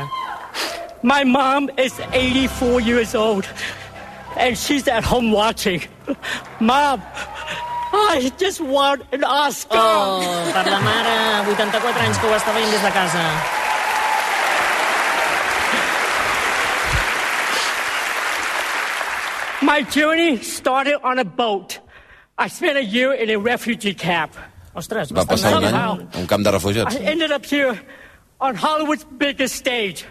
My mom is 84 years old, and she's at home watching. Mom, I just won an Oscar.
Oh, per la mare, 84 anys que ho està veient des de casa.
My journey started on a boat. I spent a year in a refugee camp.
Ostres, eh?
Va passar un any a un camp de
I
refugiats.
ended up here on Hollywood's biggest stage.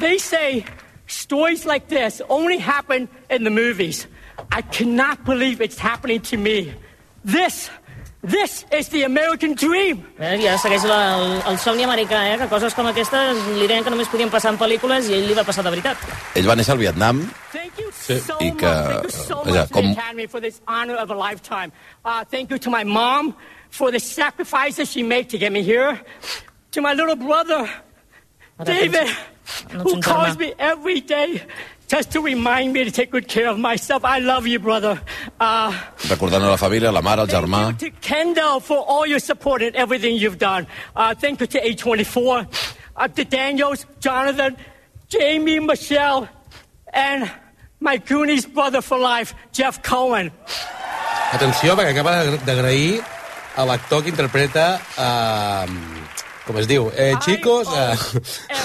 They say stories like this only happen in the movies. I cannot believe it's happening to me. This, this is the American dream.
Eh, ja segueix la, el, el somni americà, eh? que coses com aquestes li deien que només podien passar en pel·lícules i ell li va passar de veritat.
Ell va néixer al Vietnam
Sí.
i que...
so
Vaja,
much to the
uh, com,
Academy for this honor of a lifetime. Uh, thank you to my mom for the sacrifices she made to get me here. To my little brother, David, who
Norma.
calls me every day just to remind me to take good care of myself. I love you, brother. Uh,
recordant a la família, la mare, el germà...
to Kendall for all your support and everything you've done. Uh, thank you to A24, uh, to Daniels, Jonathan, Jamie, Michelle, and my Goonies brother for life, Jeff Cohen.
Atenció, perquè acaba d'agra- d'agrair a l'actor que interpreta... Eh, com es diu? Eh,
oh.
chicos... Eh,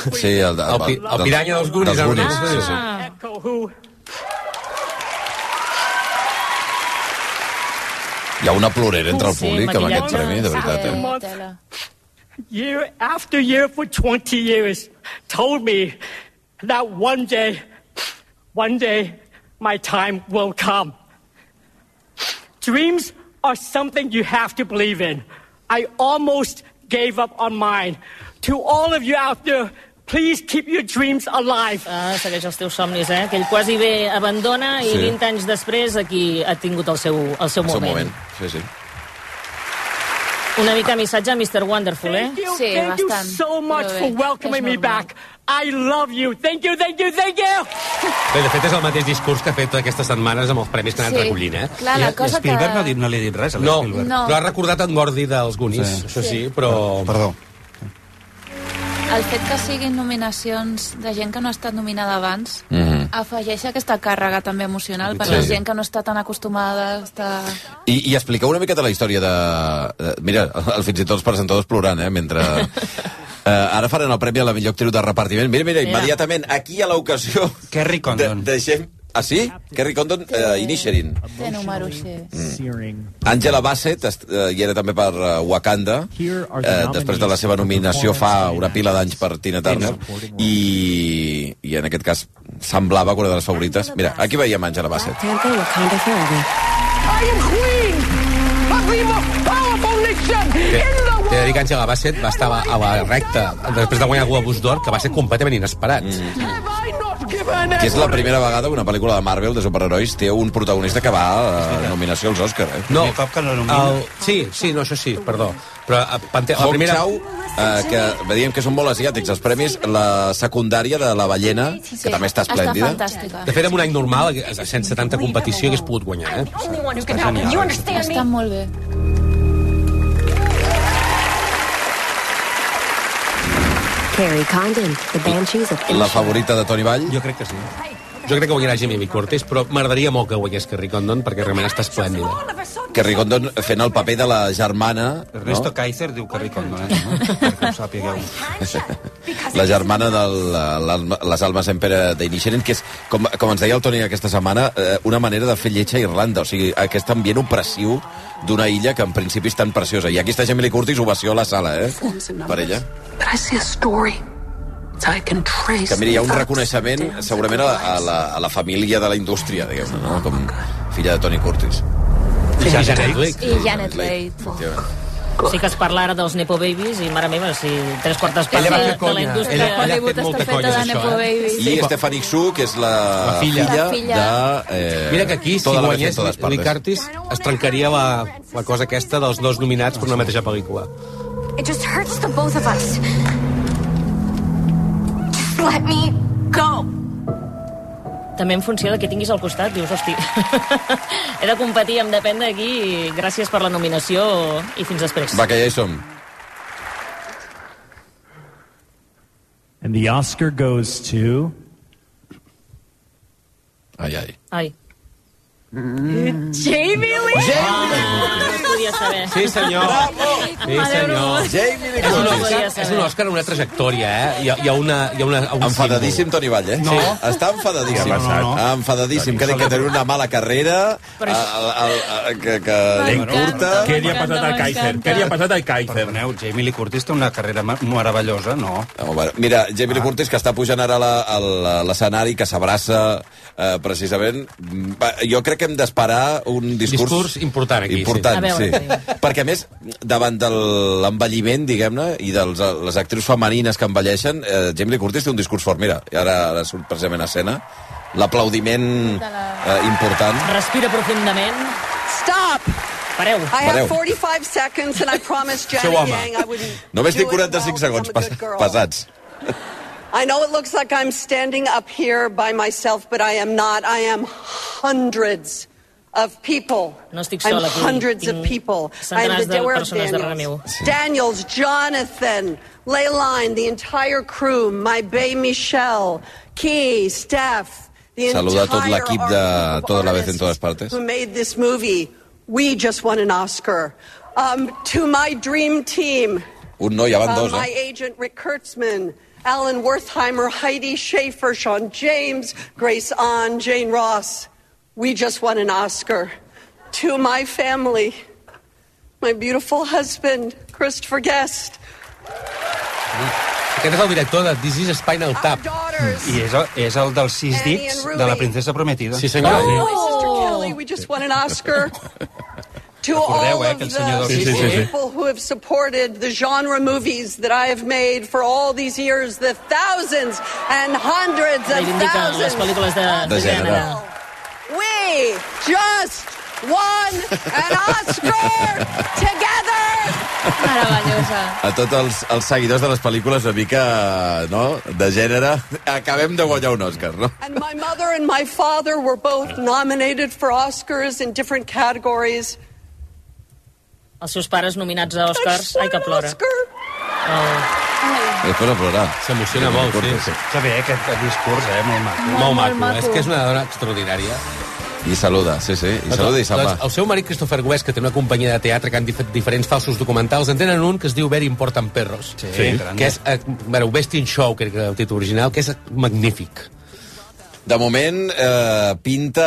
Sí, el,
el,
doncs,
pi- el piranya dels Goonies.
Dels
ara no
Goonies,
sé.
sí, sí.
Echo, who
Hi ha una plorera entre el
Sí,
públic amb aquest
maquillatge.
premi, de veritat. Eh?
year after year for 20 years told me that one day, one day, my time will come. Dreams are something you have to believe in. I almost gave up on mine. To all of you out there, please keep your dreams alive.
Ah, segueix els teus somnis, eh? Que ell quasi bé abandona i
Sí.
20 anys després aquí ha tingut el seu, el seu,
El seu
moment.
moment. Sí, sí.
Una mica missatge a Mr. Wonderful, eh?
Thank you, thank you so much for welcoming me back. I love you. Thank you, thank you, thank you.
Bé, de fet, és el mateix discurs que ha fet aquestes setmanes amb els premis que ha anat
Sí.
recollint, eh?
Clar, la I- i cosa Spielberg que- no ha dit-
no li ha dit res, a no,
Spielberg.
No,
No.
però ha recordat en Gordy dels Goonies,
Sí.
sí. això sí, però... Perdó.
El fet que siguin nominacions de gent que no ha estat nominada abans
Mm-hmm.
Mhm.
afegeix aquesta càrrega també emocional per
Sí.
la gent que no està tan acostumada a estar...
I, I expliqueu una miqueta la història de... de mira, el, fins i tot els presentadors plorant, eh? Mentre... Eh, ara faran el premi a la millor actriu de repartiment. Mira, mira, immediatament, aquí a l'ocasió... Kerry Condon. De, deixem... Ah, sí? Kerry Condon, eh, Inisherin.
Té número així.
Searing.
Angela Bassett est, eh, hi era també per eh, Wakanda, eh, després de la seva nominació fa una pila d'anys per Tina Turner, i, i en aquest cas semblava que una de les favorites. Mira, aquí veiem Angela Bassett.
Panther Wakanda forever.
I am queen of the most powerful nation in the world.
He de dir que Àngel Abasset va estar a la recta després de guanyar el Globus d'Or, que va ser completament inesperat. Mm.
Que és la primera vegada que una pel·lícula de Marvel de superherois té un protagonista que va a nominació als Oscar. Eh?
No, cop que no el... Sí, sí, no, això sí, perdó. Però eh, Pante... la
Hong
primera...
Chau, eh, que diem que són molt asiàtics els premis, la secundària de la ballena, que també està esplèndida.
Està fantàstica.
De fet, en un any normal, sense tanta competició, hagués pogut guanyar, eh?
Only one who
can help him. You
understand me? Està molt bé.
Carrie Condon, The Banshees of
La favorita de Toni Vall?
Jo crec que sí. Jo crec que guanyarà Jimmy Lee Curtis, però m'agradaria molt que guanyés Kerry Condon, perquè realment està esplèndida.
Que Ricondon fent el paper de la germana...
Ernesto
No?
Kaiser diu que Ricondo, eh? No? Perquè ho sàpigueu.
La germana de les almes sempre d'Inixeren, que és, com, com ens deia el Toni aquesta setmana, eh, una manera de fer lletja a Irlanda. O sigui, aquest ambient opressiu d'una illa que en principi és tan preciosa. I aquí està Jamie Lee Curtis, ovació a la sala, eh? Per ella.
But I see a story that I can trace.
Que, mira, hi ha un reconeixement segurament a la, a la, a la família de la indústria, diguem-ne, no? Com filla de Toni Curtis.
I Janet Blake.
I Janet Leigh.
Sí que es parla ara dels Nepo Babies i, mare meva, si tres quartes parts
Ella va
de, de
fer
la
conya.
indústria...
Ella- ella ha fet molta conya, és això, eh?
I Stephanie Xu, que és la,
La filla.
filla,
La filla.
de... Eh,
Mira que aquí, si
Toda la
guanyés
vejez, todas
Lee
partes.
Curtis, es trencaria la, la cosa aquesta dels dos nominats per una mateixa pel·lícula.
It just hurts the both of us. Just let me go.
També en funció de què tinguis al costat, dius, hosti, he de competir, em depèn d'aquí, i gràcies per la nominació i fins després.
Va, que ja hi som.
And the Oscar goes to.
Ai, ai.
Ai. Jamie Lee! Jamie Lee! Podia Ah, saber.
Sí, senyor. Sí, senyor. és un, Oscar, és un Òscar amb una trajectòria, eh? Hi ha, hi ha una... Hi ha una un
Enfadadíssim Toni Vall, eh?
No.
Està enfadadíssim.
Què ha passat?
Enfadadíssim, que diu que tenia una mala carrera, el, el, el, que, que
Eh,
curta...
Què li ha passat al Kaiser? Què li ha passat al Kaiser?
Perdoneu, Jamie Lee Curtis té una carrera ma- meravellosa, no?
No, bueno, mira, Jamie Lee
Ah.
Curtis, que està pujant ara la- a l'escenari, que s'abraça eh, precisament... Mm, va, Jo crec que hem d'esperar un discurs...
Discurs important aquí, sí. A
Important,
veure,
sí. Perquè, a més, davant de l'envelliment, diguem-ne, i de les actrius femenines que envelleixen, eh, Jamie Lee Curtis té un discurs fort. Mira, ara, ara surt precisament a escena. L'aplaudiment eh, important.
Respira profundament.
Stop!
Pareu.
I have
Pareu.
45 seconds and I promised Janet
Seu home.
Yang I wouldn't.
Només
do
tinc
it
45 segons pas, passats.
I know it looks like I'm standing up here by myself, but I am not. I am hundreds of people.
No estic
I'm
sola aquí.
hundreds of
Tinc
people. I
centenars
am
de
the Dewar
persones darrere meu.
Daniels. Daniels, Jonathan, Leyline, the entire crew, my bay Michelle, Key, Steph, the
Saludar tot
entire
l'equip de Toda la vez en todas partes.
who made this movie. We just won an Oscar. Um, to my dream team,
Un no, ja van
uh,
dos,
my
eh?
agent Rick Kurtzman, Alan Wertheimer, Heidi Schaefer, Sean James, Grace Ahn, Jane Ross. We just won an Oscar. To my family, my beautiful husband, Christopher Guest.
Aquest és el director de This is Spinal Tap.
I és el, és el dels sis dits de la princesa prometida. Ah,
Sí, senyor.
Oh, my sister Kelly, we just won an Oscar. to all
Recordeu, eh, que
of the
el senyor del
Sí, sí, sí, sí.
people who have supported the genre movies that I have made for all these years, the thousands and hundreds of
Reivindica les
thousands.
pel·lícules de,
De
de
gènere.
gènere.
We just won an Oscar together.
Meravellosa.
A tots els, els seguidors de les pel·lícules una mica, no?, de gènere. Acabem de guanyar un Òscar, no?
And my mother and my father were both nominated for Oscars in different categories.
Els seus pares nominats a Oscars. Ai, que plora. Oh.
I Després a plorar.
S'emociona molt, sí. sí.
Que bé, aquest discurs, eh? Molt maco.
Molt, molt maco. eh?
maco.
És que és una dona extraordinària.
I saluda, sí, sí. I saluda i se'n va.
Doncs el seu marit, Christopher Guest, que té una companyia de teatre que han fet diferents falsos documentals, en tenen un que es diu Very Important Perros. Sí,
gran.
Que és, eh, bueno, Best in Show, crec que era el títol original, que és magnífic.
De moment, eh, pinta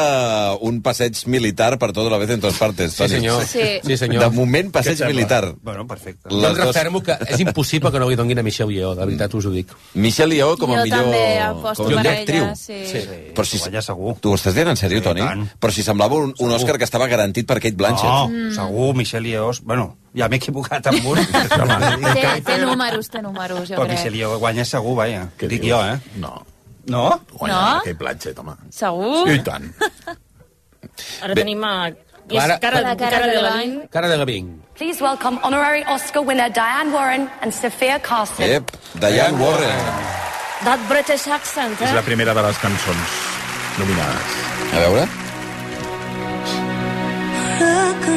un passeig militar per tota la vez en totes partes,
Sí,
Toni.
senyor. Sí. Sí, senyor.
De moment, passeig
Què et sembla?
militar.
Bueno, perfecte.
Jo em refermo que és impossible que no li donguin a Michelle Yeoh, de veritat us ho dic.
Michelle Yeoh com a
Jo
millor...
també aposto
com a
per
millor
ella,
actriu.
sí. Sí.
Però si... Eh, Guanya segur. Tu ho estàs dient en
Oh.
sèrio, Toni? Però si semblava un, un Òscar que estava garantit per Kate Blanchett.
No, segur, Michelle Yeoh... Bueno, Ja m'he equivocat amb un.
Té, té números, té números, jo
Però que si
crec.
li guanya segur, vaja. Què Dic jo, eh?
No.
No?
Guanyarà No?
aquell platget, home.
Segur?
tant.
Ara
Bé.
tenim a...
Clara-
Clara, cara,
Clara
cara, de la Vin.
Cara de Gavin.
Please welcome honorary Oscar winner Diane Warren and Sophia Carson.
Ep, Diane Warren.
That British accent,
És
eh?
la primera de les cançons nominades.
A veure.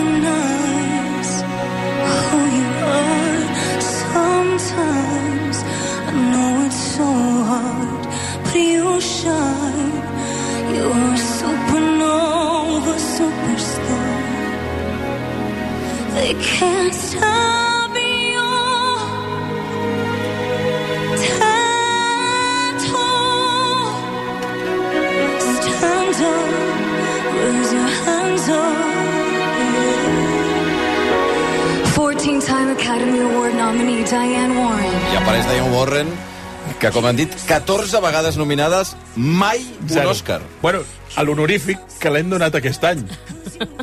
Recognize who you are. Sometimes I know it's so hard, but you shine. You're a supernova, superstar. They can't stop your tattoo. Stand up, raise your hands up. 14 time Academy Award nominee Diane Warren.
I apareix Diane Warren, que, com han dit, 14 vegades nominades, mai un
Zero.
Òscar.
Bueno, a l'honorífic que l'hem donat aquest any.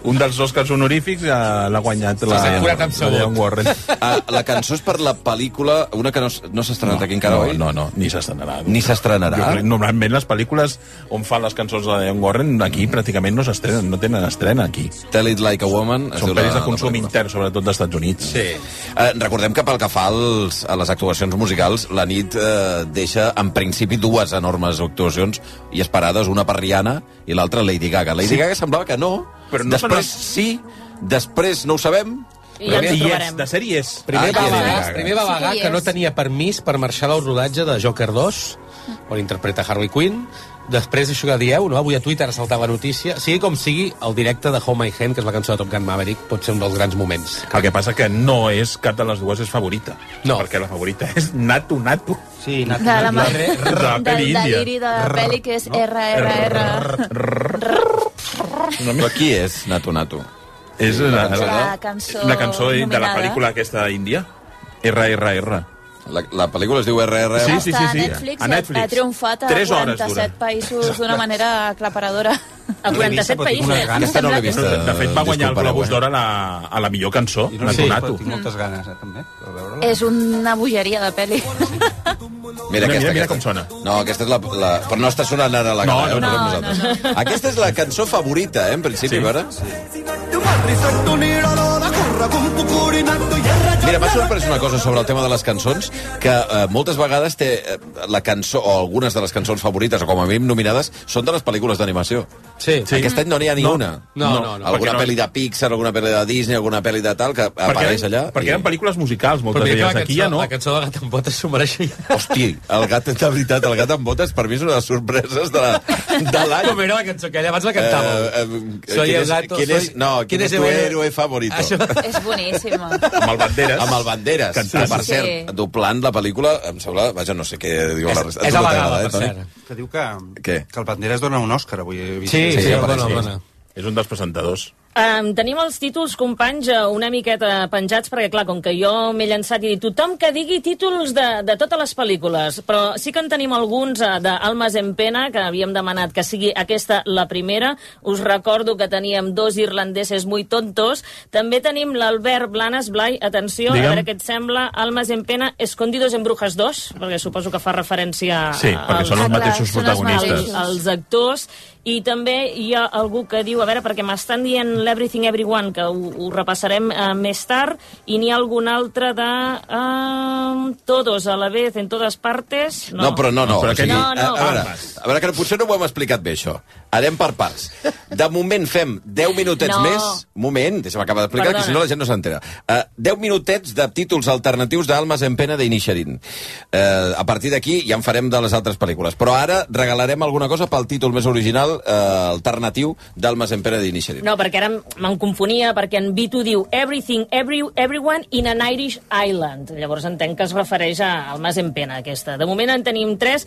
Un dels Oscars honorífics eh, l'ha guanyat la,
S'ha curat amb
la Diane Warren.
Ah, la cançó és per la pel·lícula, una que no, s- no s'ha estrenat aquí encara,
no,
oi?
No, no, ni s'estrenarà.
Ni s'estrenarà?
Jo crec- Normalment les pel·lícules on fan les cançons de la Diane Warren aquí pràcticament no s'estrenen, no tenen estrena aquí.
Tell it like a woman. es
Són
diu la-
pel·lis de
la
consum
pel·lícula.
intern, sobretot dels Estats Units.
Sí. Eh, recordem que pel que fa als, a les actuacions musicals, la nit eh, deixa en principi dues enormes actuacions i esperades, una per Rihanna i l'altra Lady Gaga. Lady
Sí.
Gaga semblava que no,
Però no
després
són
sí, després no ho sabem.
I ja ens ho
I és,
trobarem.
de sèrie és.
Primer va
Ah, i Lady
vagar,
Gaga.
primer va
Sí que
vagar
hi
que no
és.
tenia permís per marxar del rodatge de Joker 2,
Mm.
on interpreta Harley Quinn. Després, això que dieu, no? avui a Twitter saltava notícia. Sigui com sigui, el directe de Home and Hand, que és la cançó de Top Gun Maverick, pot ser un dels grans moments.
El que passa que no és cap de les dues és favorita.
No.
Perquè la favorita és Natu Natu.
Sí,
De la,
La
ma...
re-
del
la peli índia.
deliri de la pel·li que és RRR.
Però qui és Nato Nato?
És la,
la
la,
cançó
la cançó eh, de la
nominada.
pel·lícula aquesta índia. RRR.
La, la pel·lícula es diu RRR.
Sí,
Està a Netflix,
A Netflix.
ha triomfat a
Tres hores
47 països d'una manera aclaparadora.
A 47 països.
Aquesta no l'he vista.
De fet, va guanyar el
disculpareu,
Globus
eh?
d'Or a, la- a la millor cançó,
I
no
sé,
sí, Natu.
però Tinc moltes ganes, eh, també, per veure-la.
És una bogeria de pel·li.
Mira,
Mira,
aquesta,
mira, mira
aquesta.
com sona.
No, aquesta és la, la... Però no està sonant ara la
No,
cara,
no,
eh? Ho
no,
no,
posem nosaltres. Aquesta és la cançó favorita, eh, en principi,
Sí.
a veure? Mira,
Mira,
m'ha sorprès una cosa sobre el tema de les cançons, que eh, moltes vegades té eh, la cançó, o algunes de les cançons favorites, o com a mínim nominades, són de les pel·lícules d'animació.
Sí.
Sí. Aquest any no n'hi ha ni
No,
una.
no, no, no.
Alguna
Perquè no-
pel·li de Pixar, alguna pel·li de Disney, alguna pel·li de tal, que apareix
eren,
allà...
perquè eren pel·lícules musicals, moltes
mira que
d'elles. Aquí ja no.
la cançó de Gat en Botes s'ho mereixia.
Hosti, el gat, de veritat, el gat amb botes, per mi és una de les sorpreses de la- de l'any.
Com era la cançó que allà abans la cantàveu?
Eh, eh,
Soy
¿quién
el
es-
gato,
quién
soy...
es- no, ¿quién es tu
el-
héroe favorito?
Això...
És boníssima.
Amb el Banderes.
Amb el Banderes.
Cantant.
Per
Sí.
cert, doblant la pel·lícula, em sembla... Vaja, no sé què diu la
És,
resta.
és a
Tu no
la
t'agrada,
gala,
eh,
per
Toni?
cert.
Que diu que,
Què?
que el Banderas dona un Òscar, avui he vist.
Sí, sí, sí,
apareix,
dona,
sí.
dona.
És un dels presentadors.
Um, tenim els títols, companys, eh, una miqueta penjats, perquè, clar, com que jo m'he llançat i he dit tothom que digui títols de, de totes les pel·lícules, però sí que en tenim alguns eh, de Almas en Pena, que havíem demanat que sigui aquesta la primera. Us recordo que teníem dos irlandeses muy tontos. També tenim l'Albert Blanes, Blai, atenció,
Digue'm.
a veure què et sembla, Almas en Pena, Escondidos en Brujas 2, perquè suposo que fa referència
Sí, perquè
als-
són els
Ah, clar,
mateixos
són els
protagonistes.
mateixos.
els actors i també hi ha algú que diu, a veure, perquè m'estan dient l'Everything Everyone, que ho, ho repassarem eh, més tard, i n'hi ha algun altre de eh, Todos a la vez, en todas partes...
No, però no, no.
Però
o sigui,
aquest- No, no.
A, a, veure,
Palmes.
a veure, que potser no ho hem explicat bé, això. Anem per parts. De moment fem 10 minutets
No.
més... Moment, deixa'm acabar d'explicar, que
Perdona.
si no la gent no s'entera. Uh, 10 minutets de títols alternatius d'Almes en pena d'Inixerin. Uh, a partir d'aquí ja en farem de les altres pel·lícules. Però ara regalarem alguna cosa pel títol més original, uh, alternatiu, d'Almes en pena d'Inixerin.
No, perquè ara me'n confonia, perquè en Vito diu Everything, every, Everyone in an Irish Island. Llavors entenc que es refereix a, al Mas en Pena, aquesta. De moment en tenim tres.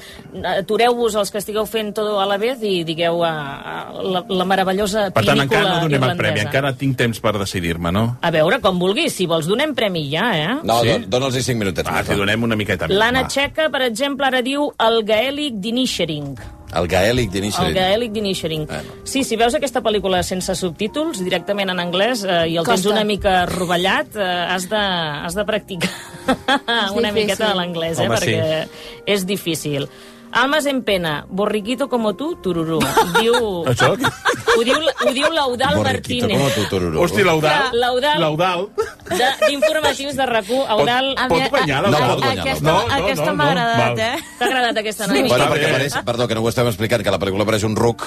Atureu-vos els que estigueu fent tot a la vez i digueu a, a la, la meravellosa
Per tant, encara no donem
irlandesa.
el premi, encara tinc temps per decidir-me, no?
A veure, com vulguis, si vols donem premi ja, eh?
No,
Sí?
sí? dona'ls-hi 5 minutets.
Ah,
més,
t'hi
va.
donem una miqueta més.
L'Anna
va.
Txeca, per exemple, ara diu el gaèlic d'Inishering.
El gaèlic
El
d'inici.
gaèlic d'Initiating. Sí, si veus aquesta pel·lícula sense subtítols, directament en anglès, eh, i el tens
Costa.
una mica rovellat, eh, has, de, has de practicar una
difícil.
miqueta de l'anglès, eh,
Home,
perquè és difícil. Almas en pena, borriquito como tu, tururú. Diu...
Això?
Ho diu, ho diu l'Eudal
Borriquito,
Martínez.
com a tu, Tororó.
Hosti, l'Eudal.
Clar, l'Eudal-
L'Eudal.
de- D'informatius de RAC1, Eudal...
A
Pot
mi-
guanyar,
a-
l'Eudal.
No, pot guanyar,
Aquesta,
l'Eudal.
No, no,
aquesta
no,
m'ha
no,
agradat,
val.
eh?
T'ha agradat aquesta nana?
Bueno,
Està
perquè
bé.
apareix, perdó, que no ho estem explicant, que a la pel·lícula apareix un ruc.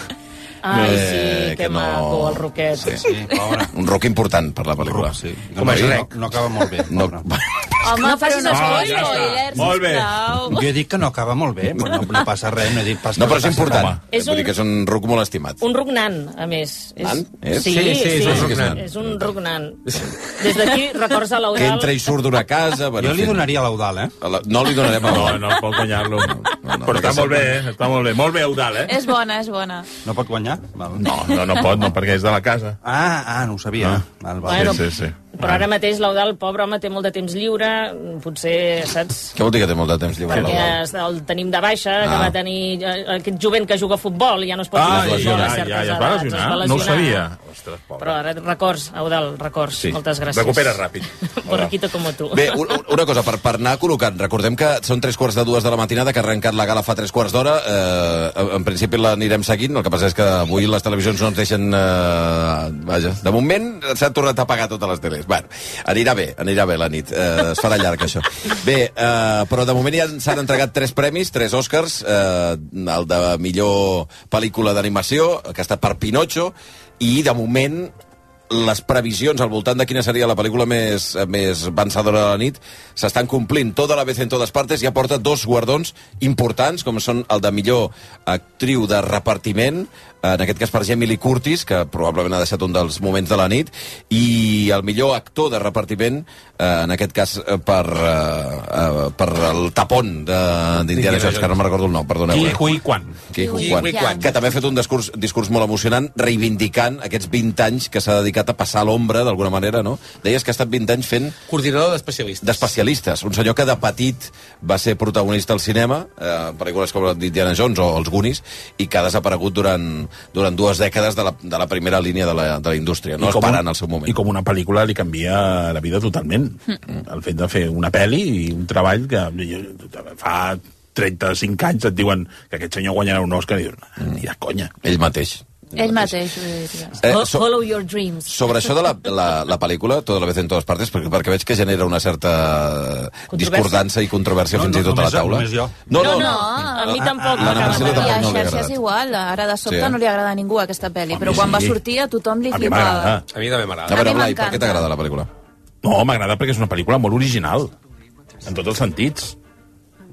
Ai,
Eh,
sí, que,
que no.
maco, el roquet.
Sí.
Sí, pobre.
Un ruc important per la pel·lícula.
Ruc, sí.
Com a
no,
Shrek.
No, no acaba molt bé.
No,
pobre.
Home, no facis
no, ja
spoilers,
està. Molt bé.
sisplau.
Jo he dit que no acaba molt bé, però no, no passa res, no he dit pas...
no
que
però és
passa
important.
res.
És
Vull
un-
dir que és un ruc molt estimat.
Un rugnan, a més. És...
Nan? És?
Sí,
Sí,
sí,
sí, és un ruc nan.
és un rugnan. Des d'aquí, records a
Que
l'Eudal.
entra i surt d'una casa... Bueno,
Jo
en
li
fi.
donaria a l'Eudal, eh?
A la- No li donarem a
No, no pot guanyar-lo. Però està molt bé, eh? Està molt bé. Molt bé, Eudal, eh?
És bona, és bona.
No pot guanyar? Val.
No, no, no pot, no, perquè és de la casa.
Ah, ah, no ho sabia.
Ah.
Val, val.
Bueno,
Sí, sí, sí.
Però ara mateix l'Eudal, pobre home, té molt de temps lliure, potser, saps?
Què vol dir que té molt de temps lliure?
Perquè
l'Eudal?
es- el tenim de baixa, que
Ah.
va tenir eh, aquest jovent que juga a futbol i ja no es pot
Ah,
jugar a
ja,
futbol
ja,
a
ja,
certes
ja, es va
edats.
lesionar.
es va
No ho
lesionar.
sabia. Ostres, pobre.
Però ara, records, Eudal, records.
Sí.
Moltes gràcies.
Recupera ràpid.
Borriquito com tu.
Bé, u- u- una cosa, per, per anar col·locant, recordem que són tres quarts de dues de la matinada, que ha arrencat la gala fa tres quarts d'hora, eh, en principi l'anirem seguint, el que passa és que avui les televisions no ens deixen... Eh, vaja, de moment s'ha tornat a apagar totes les teles. Bueno, anirà bé, anirà bé la nit, eh, es farà llarg això. Bé, eh, però de moment ja s'han entregat tres premis, tres Oscars, eh, el de millor pel·lícula d'animació, que ha estat per Pinocho, i de moment les previsions al voltant de quina seria la pel·lícula més, eh, més vencedora de la nit s'estan complint. Tota la vez en totes partes ja porta dos guardons importants, com són el de millor actriu de repartiment, en aquest cas per Jamie Lee Curtis, que probablement ha deixat un dels moments de la nit, i el millor actor de repartiment, eh, en aquest cas eh, per, eh, eh, per el tapón de- d'Indiana Jones, que no me'n recordo el nom, perdoneu.
Qui,
eh?
qui, quan?
Qui,
Qui,
Quan,
Qui, Quan.
que també ha fet un discurs, discurs molt emocionant reivindicant aquests 20 anys que s'ha dedicat a passar l'ombra, d'alguna manera, no? Deies que ha estat 20 anys fent
Coordinador d'especialistes.
d'especialistes. Un senyor que de petit va ser protagonista al cinema, eh, pel·lícules com Indiana Jones o Els Goonies, i que ha desaparegut durant, durant dues dècades de la, de la primera línia de la, de la indústria, no
I com
esperant
un-
al seu moment.
I com una pel·lícula li canvia la vida totalment. El fet de fer una pel·li i un treball que fa 35 anys et diuen que aquest senyor guanyarà un Òscar i dius, ni de conya.
Mm. Ell mateix.
Ell mateix, ho diria.
Eh,
Fo-
so-
Follow your dreams.
Sobre això de la, la, la pel·lícula, tota la vez en totes partes, perquè, perquè veig que genera una certa discordança i controvèrsia
No,
fins
no,
i tot a la
només-
taula.
només jo.
No, no,
No, no, a mi tampoc
Ah, la
m'acaba
Marcela
d'agradar.
I
no
a
li ha
xarxes
agradat.
igual, ara de sobte
Sí, eh?
no li agrada a ningú aquesta pel·li, però quan va sortir a tothom li
A mi
flipava.
m'agrada.
A mi també
A
m'agrada.
veure,
mi
Blai, per què
m'encanta.
t'agrada la pel·lícula?
No, m'agrada perquè és una pel·lícula molt original. En tots els sentits.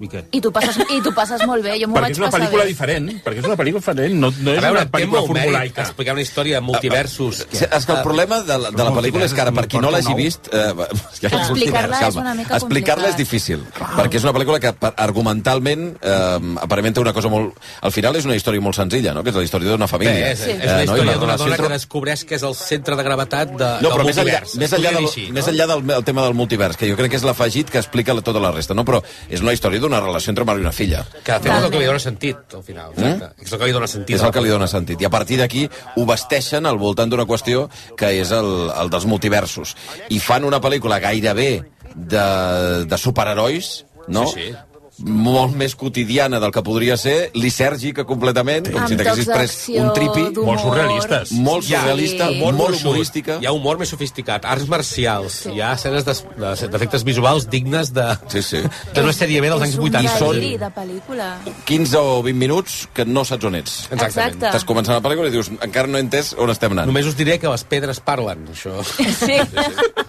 I què?
I tu passes, i tu passes molt bé, jo m'ho
perquè
vaig
és una
passar
pel·lícula
bé.
diferent. Perquè és una pel·lícula diferent, no, no
A
és
veure,
una
té
pel·lícula
molt mèrit
formulaica.
explicar una història de multiversos. Ah,
Sí, Ah, És que el problema de la, de la pel·lícula és que ara, per qui no l'hagi vist... Eh, va- ja
Clar.
em surti
Explicar-la
nervis,
és
calma.
una mica
Explicar-la és
complicat.
difícil, perquè és una pel·lícula que per- argumentalment eh, aparenta una cosa molt... Al final és una història molt senzilla, no? que és la història d'una
Bé,
família.
és,
Sí.
és la
Eh, no? I
història
la
d'una
relació
dona
entre-
que descobreix que és el centre de gravetat de,
No, però
del
més enllà,
multivers.
més enllà,
Podríem
del,
dir així,
més enllà del, del tema del multivers, que jo crec que és l'afegit que explica la, tota la resta, no? però és una història d'una relació entre mare i una filla.
Que de fet és el que li dona sentit, al final. Exacte. És el que li dona sentit.
Eh? És el que li dona sentit. I a partir d'aquí ho vesteixen al voltant d'una qüestió que és el, el dels multiversos. I fan una pel·lícula gairebé de, de superherois, no?
Sí, sí.
molt més quotidiana del que podria ser, lisèrgica completament, com si
Amb
t'haguessis
tocs
pres
d'acció,
un tripi,
d'humor.
molt surrealistes.
molt
Hi ha
surrealista,
humor
molt
gruixut,
humorística.
Hi ha humor més sofisticat, arts marcials, hi ha escenes d'es- de- d'efectes visuals dignes de...
Sí, sí.
d'una sèrie B dels anys 80.
I
És
són-
un deliri de pel·lícula.
15 o 20 minuts que no saps on ets.
Exactament.
Exacte.
Estàs començant la pel·lícula i dius, encara no he entès on estem anant.
Només us diré que les pedres parlen, això.
Sí.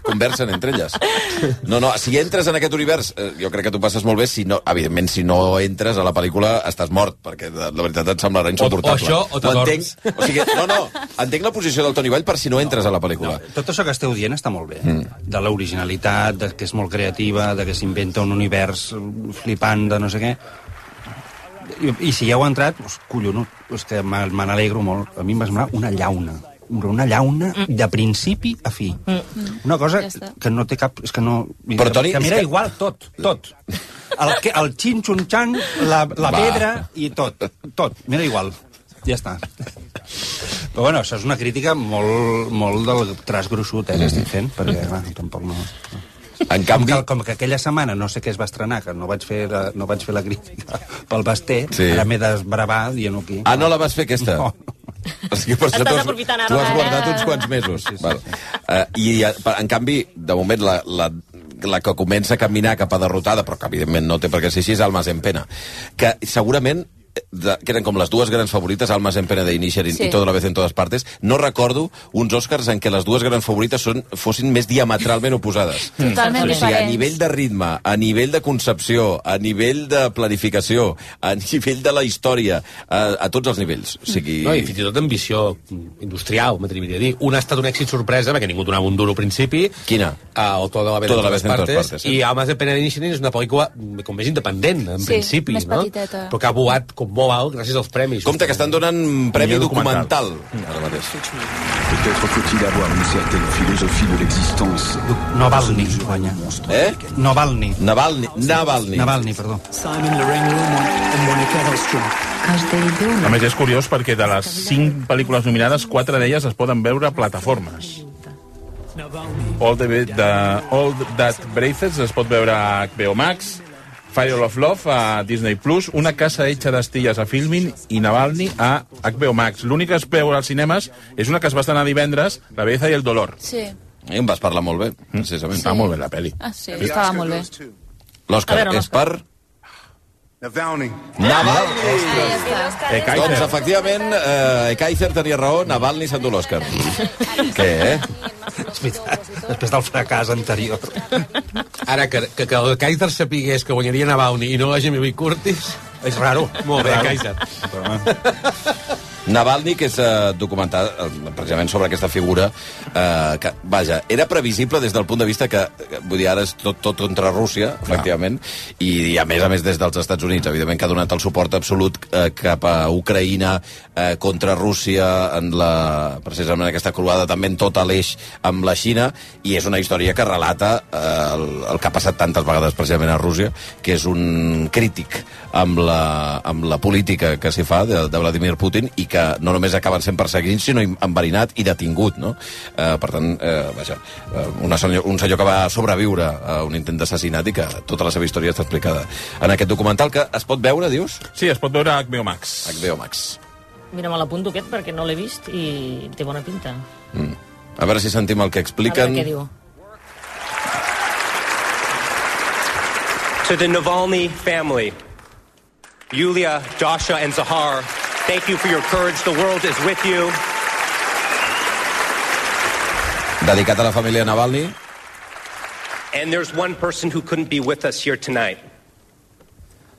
conversen entre elles. No, no, si entres en aquest univers, eh, jo crec que t'ho passes molt bé, si no, evidentment, si no entres a la pel·lícula estàs mort, perquè de, de veritat et semblarà insuportable.
o això, o
Ho entenc,
t'adorms.
o sigui, no, no, entenc la posició del Toni Vall per si no entres a la pel·lícula.
Tot això que esteu dient està molt bé. Mm. De l'originalitat, de que és molt creativa, de que s'inventa un univers flipant de no sé què. I, i si hi heu entrat, doncs, collonut, és que me, me n'alegro molt. A mi em va semblar una llauna. Però una llauna mm. de principi a fi. Mm. Una cosa
Ja està.
que no té cap... És que no...
Però, Toni,
que
és
m'era
que-
igual tot, tot. El, que- el xin-xun-xan, la, la
Va.
pedra i tot. Tot. M'era igual. Ja està. Però bueno, això és una crítica molt, molt del traç gruixut eh, que estic fent, perquè clar, tampoc no...
En canvi...
Com que, com que aquella setmana no sé què es va estrenar, que no vaig fer la, no vaig fer la crítica pel Basté, sí.
Sí.
ara m'he desbravat dient aquí.
Ah, no la vas fer, aquesta?
No.
És que per
Estàs
això tu has-
aprofitant ara
Tu has
la-
guardat uns quants mesos. Sí, sí. Val. Uh, I, eh, per- en canvi, de moment, la, la, la que comença a caminar cap a derrotada, però que evidentment no té per què ser així, és Almas en Pena. Que segurament eh, de, que eren com les dues grans favorites, Almas en Pena de Inisher i,
Sí.
sí. i Todo la vez en todas partes, no recordo uns Oscars en què les dues grans favorites són, fossin més diametralment oposades.
Totalment
o sigui, a
diferents.
nivell de ritme, a nivell de concepció, a nivell de planificació, a nivell de la història, a, a tots els nivells. O sigui...
No, I fins i tot ambició industrial, m'atreviria a dir. Una ha estat un èxit sorpresa, perquè ningú donava un duro al principi.
Quina?
Uh, o Toda la vez
Toda la vez en todas
partes.
partes, sí.
I Almas de Pena de Nishirin és una pel·lícula mm, com més independent, en
Sí,
principi.
més
no?
petiteta.
Però que ha voat com molt alt gràcies als premis.
Compte que estan donant premi documental. ara mateix.
Peut-être faut-il avoir une certaine philosophie de l'existence.
Navalny guanya.
Eh?
Navalny.
Navalny. Navalny.
Navalny, perdó.
Simon Lorengo and Monica Hellstrom.
A més, és curiós perquè de les 5 pel·lícules nominades, 4 d'elles es poden veure a plataformes. All, the, the, All That Braces es pot veure a HBO Max, Fire of Love a Disney+, Plus, Una casa hecha d'estilles a Filmin i Navalny a HBO Max. L'única que es veu als cinemes és una que es va estrenar divendres, La belleza i el dolor. Mm.
Sí.
I en vas parlar molt bé, precisament.
Sí. Ah, molt bé,
la pel·li.
Ah, sí, estava molt bé.
L'Òscar
A veure,
és per...
Navalny.
Navalny!
Ja està.
Eh, doncs, efectivament, eh, Kaiser tenia raó, Navalny s'endú l'Òscar. Què, eh?
És veritat, després del fracàs anterior.
Ara, que, que, que el Kaiser sapigués que guanyaria Navalny i no la Jimmy Lee Curtis...
És raro.
Molt bé,
Raro.
Kaiser.
Navalny, que és eh, documentar eh, precisament sobre aquesta figura eh, que, vaja, era previsible des del punt de vista que, eh, vull dir, ara és tot, tot contra Rússia, efectivament, i, i a més a més des dels Estats Units, evidentment que ha donat el suport absolut eh, cap a Ucraïna eh, contra Rússia en la, precisament en aquesta croada també en tot l'eix amb la Xina i és una història que relata eh, el, el que ha passat tantes vegades precisament a Rússia, que és un crític amb la, amb la política que s'hi fa de, de Vladimir Putin i que no només acaben sent perseguits, sinó im- enverinat i detingut, no? Eh, per tant, eh, vaja, eh, una senyor, un senyor que va sobreviure a un intent d'assassinat i que tota la seva història està explicada en aquest documental que es pot veure, dius?
Sí, es pot veure a HBO Max.
HBO Max.
Mira, me l'apunto aquest perquè no l'he vist i té bona pinta.
A veure si sentim el que
A
expliquen.
veure què diu.
To the Navalny family, Yulia, Dasha, and Zahar, thank you for your courage. The world is with you.
Dedicat a la família Navalny.
And there's one person who couldn't be with us here tonight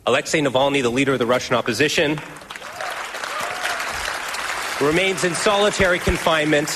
Alexei Navalny, the leader of the Russian opposition, remains in solitary confinement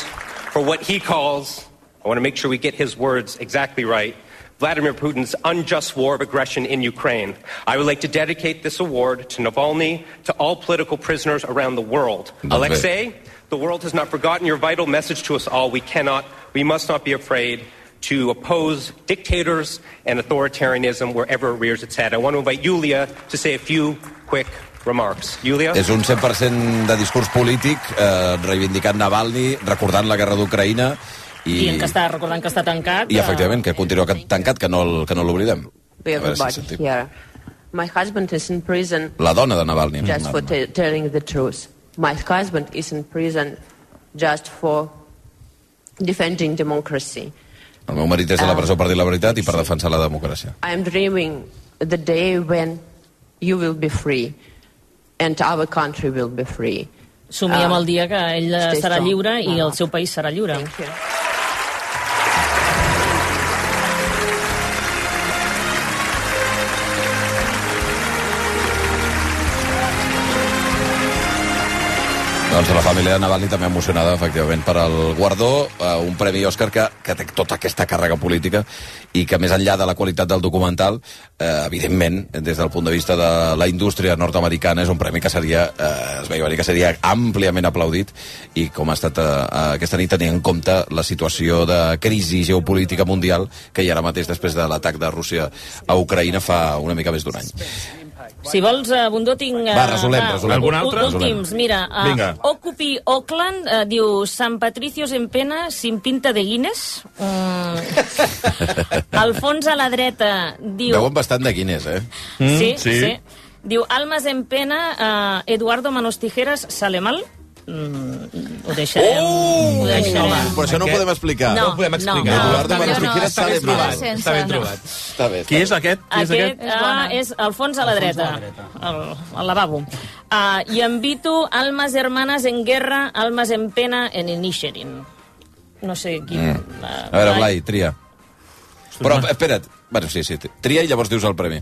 for what he calls, I want to make sure we get his words exactly right, Vladimir Putin's unjust war of aggression in Ukraine. I would like to dedicate this award to Navalny, to all political prisoners around the world.
Lovely.
Alexei, the world has not forgotten your vital message to us all. We cannot, we must not be afraid to oppose dictators and authoritarianism wherever it rears its head. I want to invite Yulia to say a few quick remarks. Yulia?
És un 100% de discurs polític, eh, reivindicant Navalny, recordant la guerra d'Ucraïna i,
I... en que està, recordant que està tancat. eh,
i, efectivament, que continua ca- tancat, que no, el- que no l'oblidem.
We
A veure si
everybody
sentim.
here. My husband is in prison
La dona de Navalny.
just for t- telling the truth. My husband is in prison just for defending democracy.
El meu marit és a la presó per dir la veritat i per defensar la democràcia.
I am dreaming the day when you will be free and our country will be free.
Somiem
Ah.
el dia que ell eh,
Stay
serà
strong,
lliure i
mama.
el seu país serà lliure.
Doncs la família Navalny també emocionada, efectivament, per al guardó, eh, un premi Òscar que, que té tota aquesta càrrega política i que, més enllà de la qualitat del documental, eh, evidentment, des del punt de vista de la indústria nord-americana, és un premi que seria, eh, es veia venir, que seria àmpliament aplaudit i com ha estat eh, aquesta nit tenint en compte la situació de crisi geopolítica mundial que hi ha ara mateix després de l'atac de Rússia a Ucraïna fa una mica més d'un any.
Si vols, eh, Bundó, tinc... eh,
Va, resolem, resolem. Algun altre?
ú- Últims,
Resolem.
mira. eh,
Vinga.
Occupy Oakland eh, diu San Patricios en pena, sin pinta de Guinness. Mm. Alfons a la dreta diu...
Veuen bastant de Guinness, eh?
sí, Mm, sí, sí. Diu Almas en pena, eh, Eduardo Manos Tijeras sale mal. Mm, ho deixarem.
Uh!
ho deixarem.
Home, però això no ho
Aquest-
podem explicar. No,
No, no.
Eduardo
no,
Manos
no,
Tijeras
està
sale
ben trobat,
mal.
sense, Està ben no. trobat.
Està bé, està
Qui
bé.
és aquest? Qui és
Aquest,
aquest?
és, ah, és Alfons a la dreta, al, al lavabo. Ah, I envito almas hermanas en guerra, almas en pena, en inisherin. No sé quin... Mm.
A veure, Blai, tria. Però, espera't. Bueno, sí, sí. Tria i llavors dius el premi.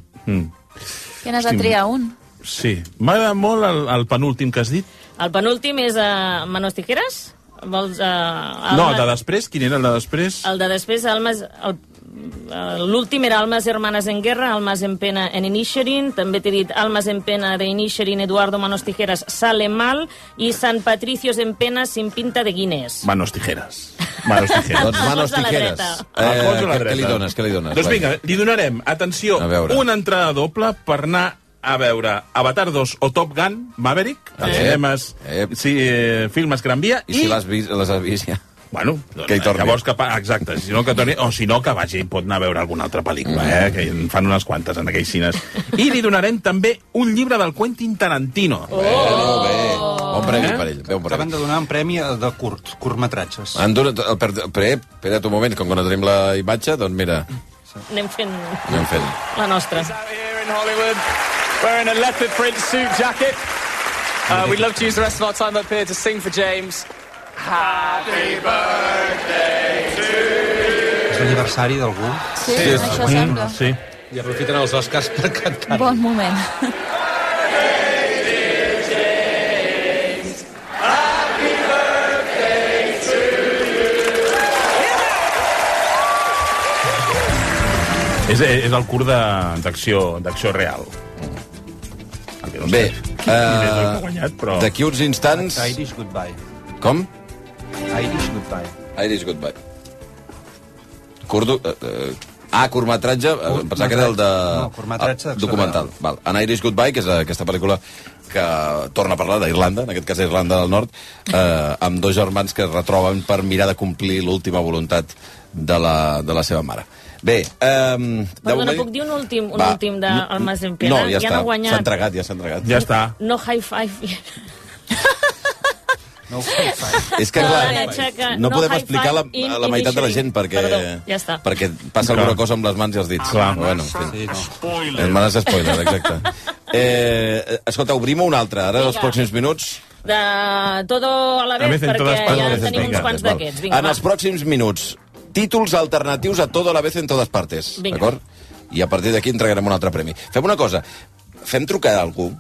Qui n'has de triar un?
Sí. M'agrada molt el, el penúltim que has dit.
El penúltim és uh, Manos Tijeras. Vols, uh,
No, Ah, el de després. Quin era el de després?
El de després, Almas... El,
Ah,
eh, L'últim era Almas Hermanas en Guerra, Almas en Pena en Inisherin, també t'he dit Almas en Pena de Inisherin, Eduardo Manos Tijeras sale mal i San Patricios en Pena sin pinta de Guinness.
Manos tijeras. Manos tijeras.
Doncs manos
Alfons a la
tijeres.
dreta.
Eh,
Alfons a la
què-
dreta.
què li dones, què li dones,
Doncs
Blai?
vinga, li donarem, atenció,
A veure.
una entrada doble per anar a veure Avatar 2 o Top Gun, Maverick, als
Ep.
cinemes, sí, eh, filmes Gran Via,
I si l'has vist, les has vist ja.
Bueno, doncs,
Que hi torni.
llavors que... pa- Exacte, si no que torni, o si no que vagi i pot anar a veure alguna altra pel·lícula, eh, que en fan unes quantes en aquells cines. I li donarem també un llibre del Quentin Tarantino. Eh? Oh!
Oh.
Oh.
Bon premi
Eh?
per ell. Bé, un premi.
Acaben de donar un premi de curt, curtmetratges.
Han donat... el Per, per, espera't un moment, com que no tenim la imatge, doncs mira,
Anem fent
anem fent.
la nostra.
in Hollywood, wearing a leopard print suit jacket. Uh, we'd love to use the rest of our time up here to sing for James. Happy birthday
És l'aniversari d'algú?
Sí, Sí, això sí. sembla.
Sí.
I aprofiten els Oscars per cantar.
Bon moment.
És, és el curt de- d'acció d'acció real.
Bé,
Uh,
eh,
guanyat, però...
d'aquí uns instants...
Irish Goodbye.
Com?
Irish Goodbye.
Irish Goodbye. Curdo... Eh, eh, ah, curtmetratge, eh, em pensava que era el de...
No, curtmetratge
ah,
d'acció
documental. Val. An Irish Goodbye, que és eh, aquesta pel·lícula que torna a parlar d'Irlanda, en aquest cas d'Irlanda del Nord, eh, amb dos germans que es retroben per mirar de complir l'última voluntat de la, de la seva mare. Bé, eh, de
Perdona,
moment...
puc dir un últim, un
Va,
últim d'Almas en Pena?
No, ja,
n'ha
està. S'ha
guanyat.
entregat, ja s'ha entregat.
Ja està.
No high five.
És que,
No,
clar,
aixeca.
no,
No
podem
high
explicar la,
five in
la meitat de la gent
initially.
perquè,
Perdó, ja està.
perquè passa alguna cosa amb les mans i els dits. Clar. Bueno, en fi. Eh, Les manes spoiler, exacte. Eh, escolta, obrim una altra, ara, els
Vinga.
pròxims minuts.
De todo a la vez, perquè ja en tenim uns quants
Val.
d'aquests. Vinga,
En els
va.
pròxims minuts, títols alternatius a Todo a la vez en todas partes.
Vinga.
D'acord? I a partir d'aquí entregarem un altre premi. Fem una cosa, fem trucar a algú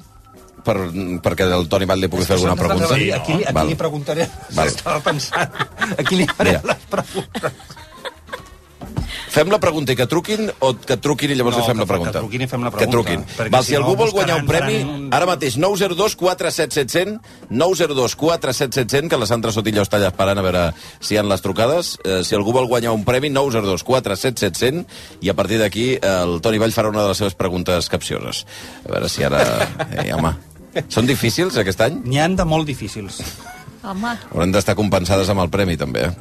per, perquè el Toni Val li pugui fer alguna pregunta.
Aquí, aquí, aquí
Val.
li preguntaré...
Val.
Estava pensant... Aquí li faré
Mira. Fem la pregunta i que truquin o que truquin i llavors
No,
li fem
que-
la pregunta?
que truquin i fem la
Que
pregunta,
truquin.
perquè
Val,
si
si
no,
algú vol guanyar un
buscaran
premi,
un-
ara mateix 902 47 700 902 47 700 que la Sandra Sotillo està allà esperant a veure si hi ha les trucades. Eh, si algú vol guanyar un premi, 902 47 700 i a partir d'aquí eh, el Toni Vall farà una de les seves preguntes capcioses. A veure si ara... Eh, home... Són difícils aquest any?
N'hi han de molt difícils.
Home,
Hauran d'estar compensades amb el premi, també. Eh?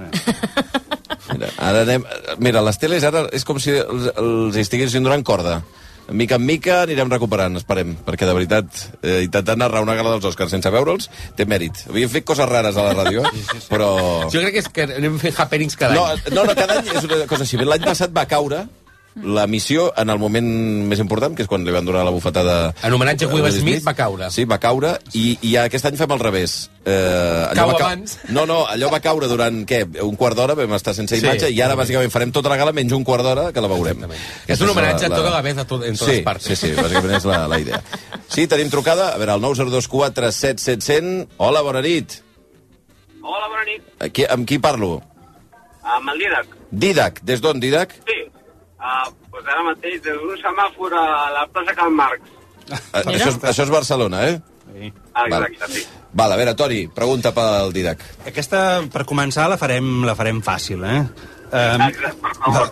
Mira, ara anem... Mira, les teles ara és com si els, els estiguessin donant corda. De Mica en mica anirem recuperant, esperem, perquè de veritat eh, intentar narrar una gala dels Oscars sense veure'ls té mèrit. Havíem fet coses rares a la ràdio, però...
Jo crec que, és que anem fent happenings cada
No,
any.
no, no, cada any és una cosa així. Bé, L'any passat va caure la missió en el moment més important, que és quan li van donar la bufetada...
En homenatge a Will Smith, va
caure. Sí, va caure, i, i aquest any fem al revés. Eh,
Cau
va
abans.
No, no, allò va caure durant, què, un quart d'hora, vam estar sense
Sí.
imatge, i ara bàsicament farem tota la gala menys un quart d'hora que la veurem. Aquesta
És un homenatge
la-
a tota la vez a tot, en totes
sí,
partes.
Sí, sí, bàsicament és la, la idea. Sí, tenim trucada, a veure, el 902 47700. Hola, bona nit. Aquí, amb qui parlo?
Amb el Didac.
Didac. Des d'on, Didac?
Ah, Sí. Uh, pues ara mateix, des d'un semàfor a la plaça Cal Marx.
Eh, Això és, això és Barcelona, eh?
Ah,
Val.
exacte, sí.
Val, a veure, Toni, pregunta pel Didac.
Aquesta, per començar, la farem, la farem fàcil, eh? Um,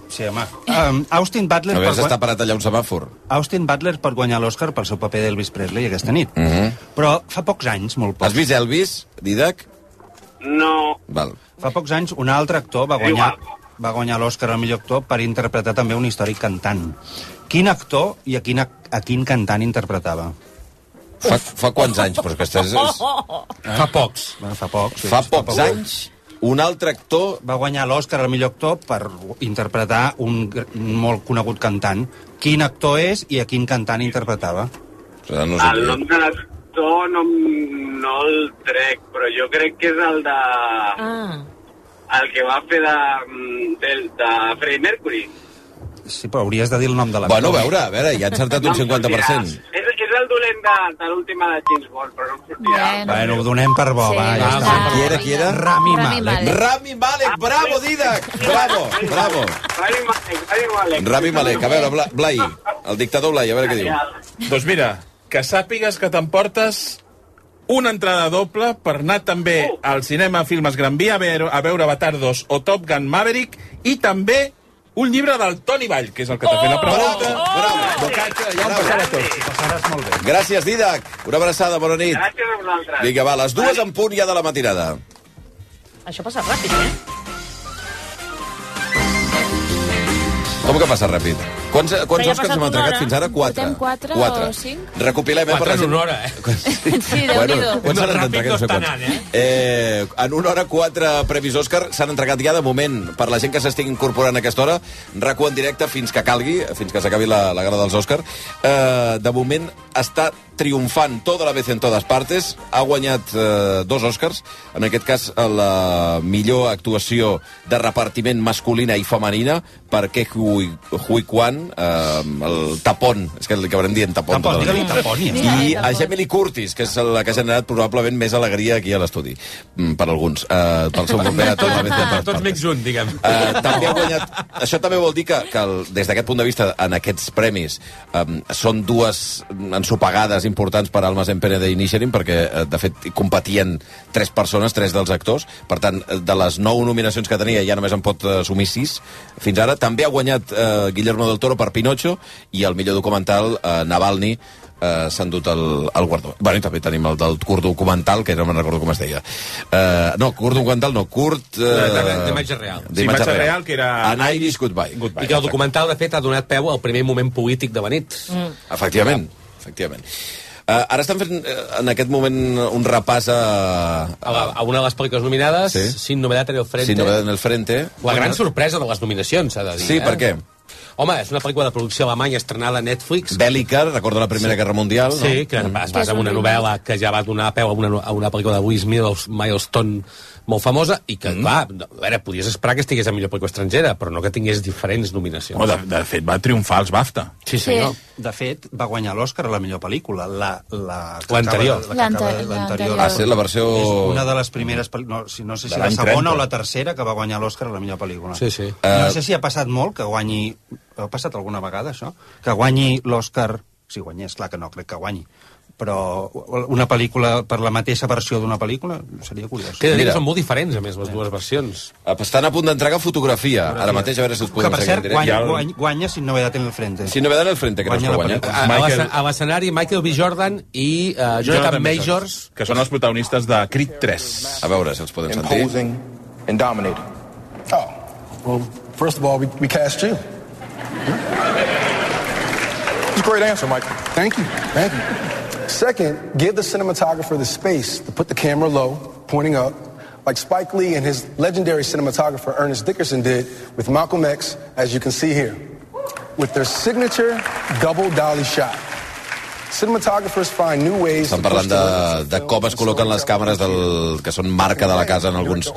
sí, home. Um, Austin Butler...
A
per
veure,
guan-
s'està parat allà un semàfor.
Austin Butler per guanyar l'Oscar pel seu paper d'Elvis Presley aquesta nit.
Mm
Mhm.
-hmm.
Però fa pocs anys, molt pocs...
Has vist Elvis, Didac?
No.
Val.
Fa pocs anys un altre actor va guanyar va guanyar l'Oscar al millor actor per interpretar també un històric cantant. Quin actor i a quin, ac- a quin cantant interpretava?
Fa, fa quants anys? Però és que estàs, és...
Eh? Fa pocs. Bueno, fa pocs. Sí,
Fa pocs anys, un altre actor...
Va guanyar l'Oscar al millor actor per interpretar un gr- un molt conegut cantant. Quin actor és i a quin cantant interpretava?
Ah, No
El nom de l'actor no, no el trec, però jo crec que és el de...
Ah.
El que va fer de, de, de Freddie Mercury.
Sí, però hauries de dir el nom de l'actor.
Bueno, a veure, a veure, ja han encertat un 50%.
És, és el dolent de, de l'última de James Bond, però no em sortirà.
Bueno, ho donem per bo, sí, va,
Ah,
ja està.
Qui era, qui era?
Rami Malek.
Rami Malek, bravo, Didac! Bravo, bravo.
Ah, Rami Malek, Rami Malek.
Rami Malek, a veure, Bla- Blai, el dictador Blai, a veure què diu.
Doncs mira, que sàpigues que t'emportes una entrada doble per anar també al cinema Filmes Gran Via a veure, a veure Avatar 2 o Top Gun Maverick i també un llibre del Toni Vall, que és el que t'ha fet la pregunta.
Bravo, bravo.
Bocatge, ja ho passarà tot.
Gràcies, Didac. Una abraçada, bona nit.
Gràcies a vosaltres.
Vinga, va, les dues en punt ja de la matinada.
Això passa ràpid, eh?
Com que passa ràpid? Quants,
Però
quants
ja ha
Oscars
passat
hem
una hora.
atracat fins ara? Quatre.
Portem quatre o cinc?
Recopilem, eh, per
Quatre
la
en
gent.
una hora, eh?
Sí, déu nhi
Bueno, quan s'han entregat, no sé quants. Eh, en una hora, quatre previs Òscar s'han entregat ja de moment. Per la gent que s'estigui incorporant a aquesta hora, rac en directe fins que calgui, fins que s'acabi la, la gala dels Òscar. Eh, de moment està triomfant tota la vez en totes partes. Ha guanyat eh, dos Òscars, en aquest cas la millor actuació de repartiment masculina i femenina per Ke Hui, Hui Kwan, eh, el tapon, és que li acabarem dient tapon.
Tapón,
tota la
digue-li
nit.
tapón, ja està.
I a Gemily Curtis, que és la que ha generat probablement més alegria aquí a l'estudi, Mm, per alguns, eh, pel seu paper a tota la vez en totes
Tots
partes.
mics un, diguem.
Eh, també ha guanyat... Això també vol dir que, que el, des d'aquest punt de vista, en aquests premis, um, són dues ensopegades importants per Almas en Pere de Initiating, perquè, eh, de fet, hi competien tres persones, tres dels actors. Per tant, eh, de les nou nominacions que tenia, ja només en pot eh, assumir sis fins ara. També ha guanyat eh, Guillermo del Toro per Pinocho i el millor documental, eh, Navalny, eh, s'ha endut el, el guardó. Bé, i també tenim el del curt documental, que no me'n recordo com es deia. Eh, no, curt documental, no, curt... Eh,
De- d'imatge real.
d'imatge
Sí, imatge real, que era...
An Irish Goodbye.
I que el documental, de fet, ha donat peu al primer moment polític de la nit. Mm.
Efectivament, efectivament. Uh, ara estan fent eh, en aquest moment un repàs a...
A, la, a una de les pel·lícules nominades,
Sí.
sí. Sin novedad en el frente.
Sin novedad en el frente.
La gran sorpresa de les nominacions, s'ha de dir.
Sí,
eh?
per què?
Home, és una pel·lícula de producció alemanya estrenada a Netflix.
Bèl·lica, recorda la Primera Guerra Mundial.
Sí,
no?
que
Mm.
es basa en una novel·la que ja va donar peu a una, a una pel·lícula de Louis Middles- Milestone molt famosa i que, mm. clar, no, a veure, podies esperar que estigués a millor pel·lícula estrangera, però no que tingués diferents nominacions.
Oh, de, de fet, va triomfar els BAFTA.
Sí, senyor.
De fet, va guanyar l'Oscar a la millor pel·lícula, la... la que
L'anterior.
acaba- la que acaba-
L'ante-
L'anterior.
Ah, sí, la versió...
És una de les primeres... pel- No, si- no sé
De
si la
l'any 30.
segona o la tercera que va guanyar l'Oscar a la millor pel·lícula.
Sí, sí.
No
Eh,
sé si ha passat molt que guanyi... Ha passat alguna vegada, això? Que guanyi l'Oscar... Si guanyés, clar que no, crec que guanyi. Però una pel·lícula per la mateixa versió d'una pel·lícula seria curiós.
Que he de dir
Mira.
que són molt diferents, a més, les dues versions.
Eh, Estan a punt d'entregar fotografia, ara mateix, a veure si us
Que,
podem
per
seguir en
cert,
directe. Ja
guanya,
el-
guanya, guanya sin novedad en el frente.
Sin novedad en el frente, que no és
Guanya
que
la
guanya.
pel·lícula.
A, a
Michael-
l'escena- a l'escenari, Michael B. Jordan i uh, Jonathan Majors.
Que són els protagonistes de Creed 3.
A veure si els podem sentir.
and dominating.
Well, first of all, we, we cast you.
It's a great answer, Mike.
Thank you. Thank you. Second, give the cinematographer the space to put the camera low, pointing up, like Spike Lee and his legendary cinematographer Ernest Dickerson did with Malcolm X, as you can see here, with their signature double dolly shot. Cinematographers find new ways
Estan
to push
parlant de,
the limits of
de com es col·loquen les càmeres del, que són marca de la casa en alguns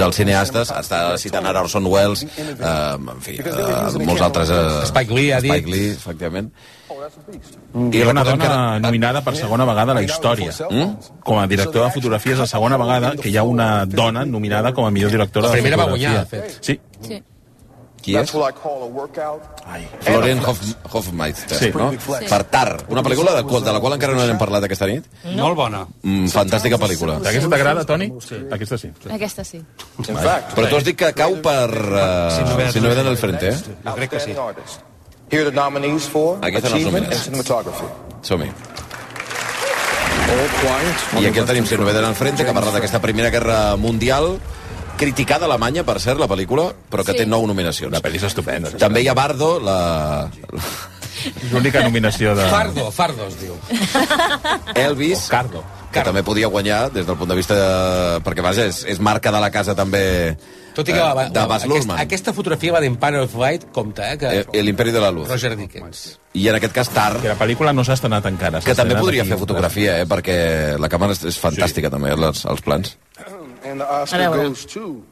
dels cineastes. Està citant ara Orson Welles, eh, en fi, eh, molts altres... Eh,
Spike Lee ha dit.
Spike Lee, efectivament. Mm.
I una dona nominada per segona vegada a la història. Mm? Com a directora de fotografia és la segona vegada que hi ha una dona nominada com a millor directora
La
de
primera va
fotografia.
guanyar, de fet.
Sí.
Sí.
Qui és?
¿eh?
Ai.
Florian Eh, Hoff, Hoffmeister,
Sí.
no?
Sí.
Per Tar, una pel·lícula de, qual- de la qual encara no n'hem parlat aquesta nit.
No. Molt bona.
Mm, fantàstica pel·lícula.
Aquesta t'agrada, Toni? Sí. Aquesta sí.
Aquesta sí.
Vale. Però tu has dit que cau per... Uh, si no ve del frente, eh?
Jo crec que sí.
Here are the nominees for
Aquí estan els
Achievement and
nominats.
Cinematography.
Som-hi. I aquí el tenim, si no ve del frente, que parla d'aquesta Primera Guerra Mundial, criticada a Alemanya, per cert, la pel·lícula, però que
Sí.
té nou nominacions. La pel·li és estupenda. També hi ha Bardo, la...
L'única nominació de...
Fardo, Fardo es diu.
Elvis, Cardo, que també podia guanyar des del punt de vista... De... Perquè, vaja, és, és marca de la casa també
Tot i que va,
eh, de Baz
aquesta,
Luhrmann.
aquesta fotografia va d'Empire of Light, compte, eh? Que...
Eh, L'imperi de la luz.
Roger Dickens.
I en aquest cas, Tar...
Que la pel·lícula no s'ha estrenat encara.
Que també podria fer fotografia, eh? Perquè la càmera és, és fantàstica, sí. també, les, els plans.
And the
A
Oscar
veure.
goes to...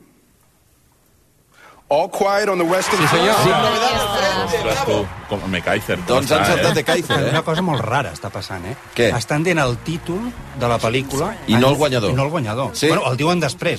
All Quiet on the Western
Sí, senyor.
Front.
Sí, Ostres, tu, com me Kaiser.
Doncs han saltat de Kaiser, eh?
Una cosa molt rara està passant, eh?
Què?
Estan dient el títol de la pel·lícula...
I no el guanyador.
I no el guanyador.
Sí?
Bueno, el diuen després.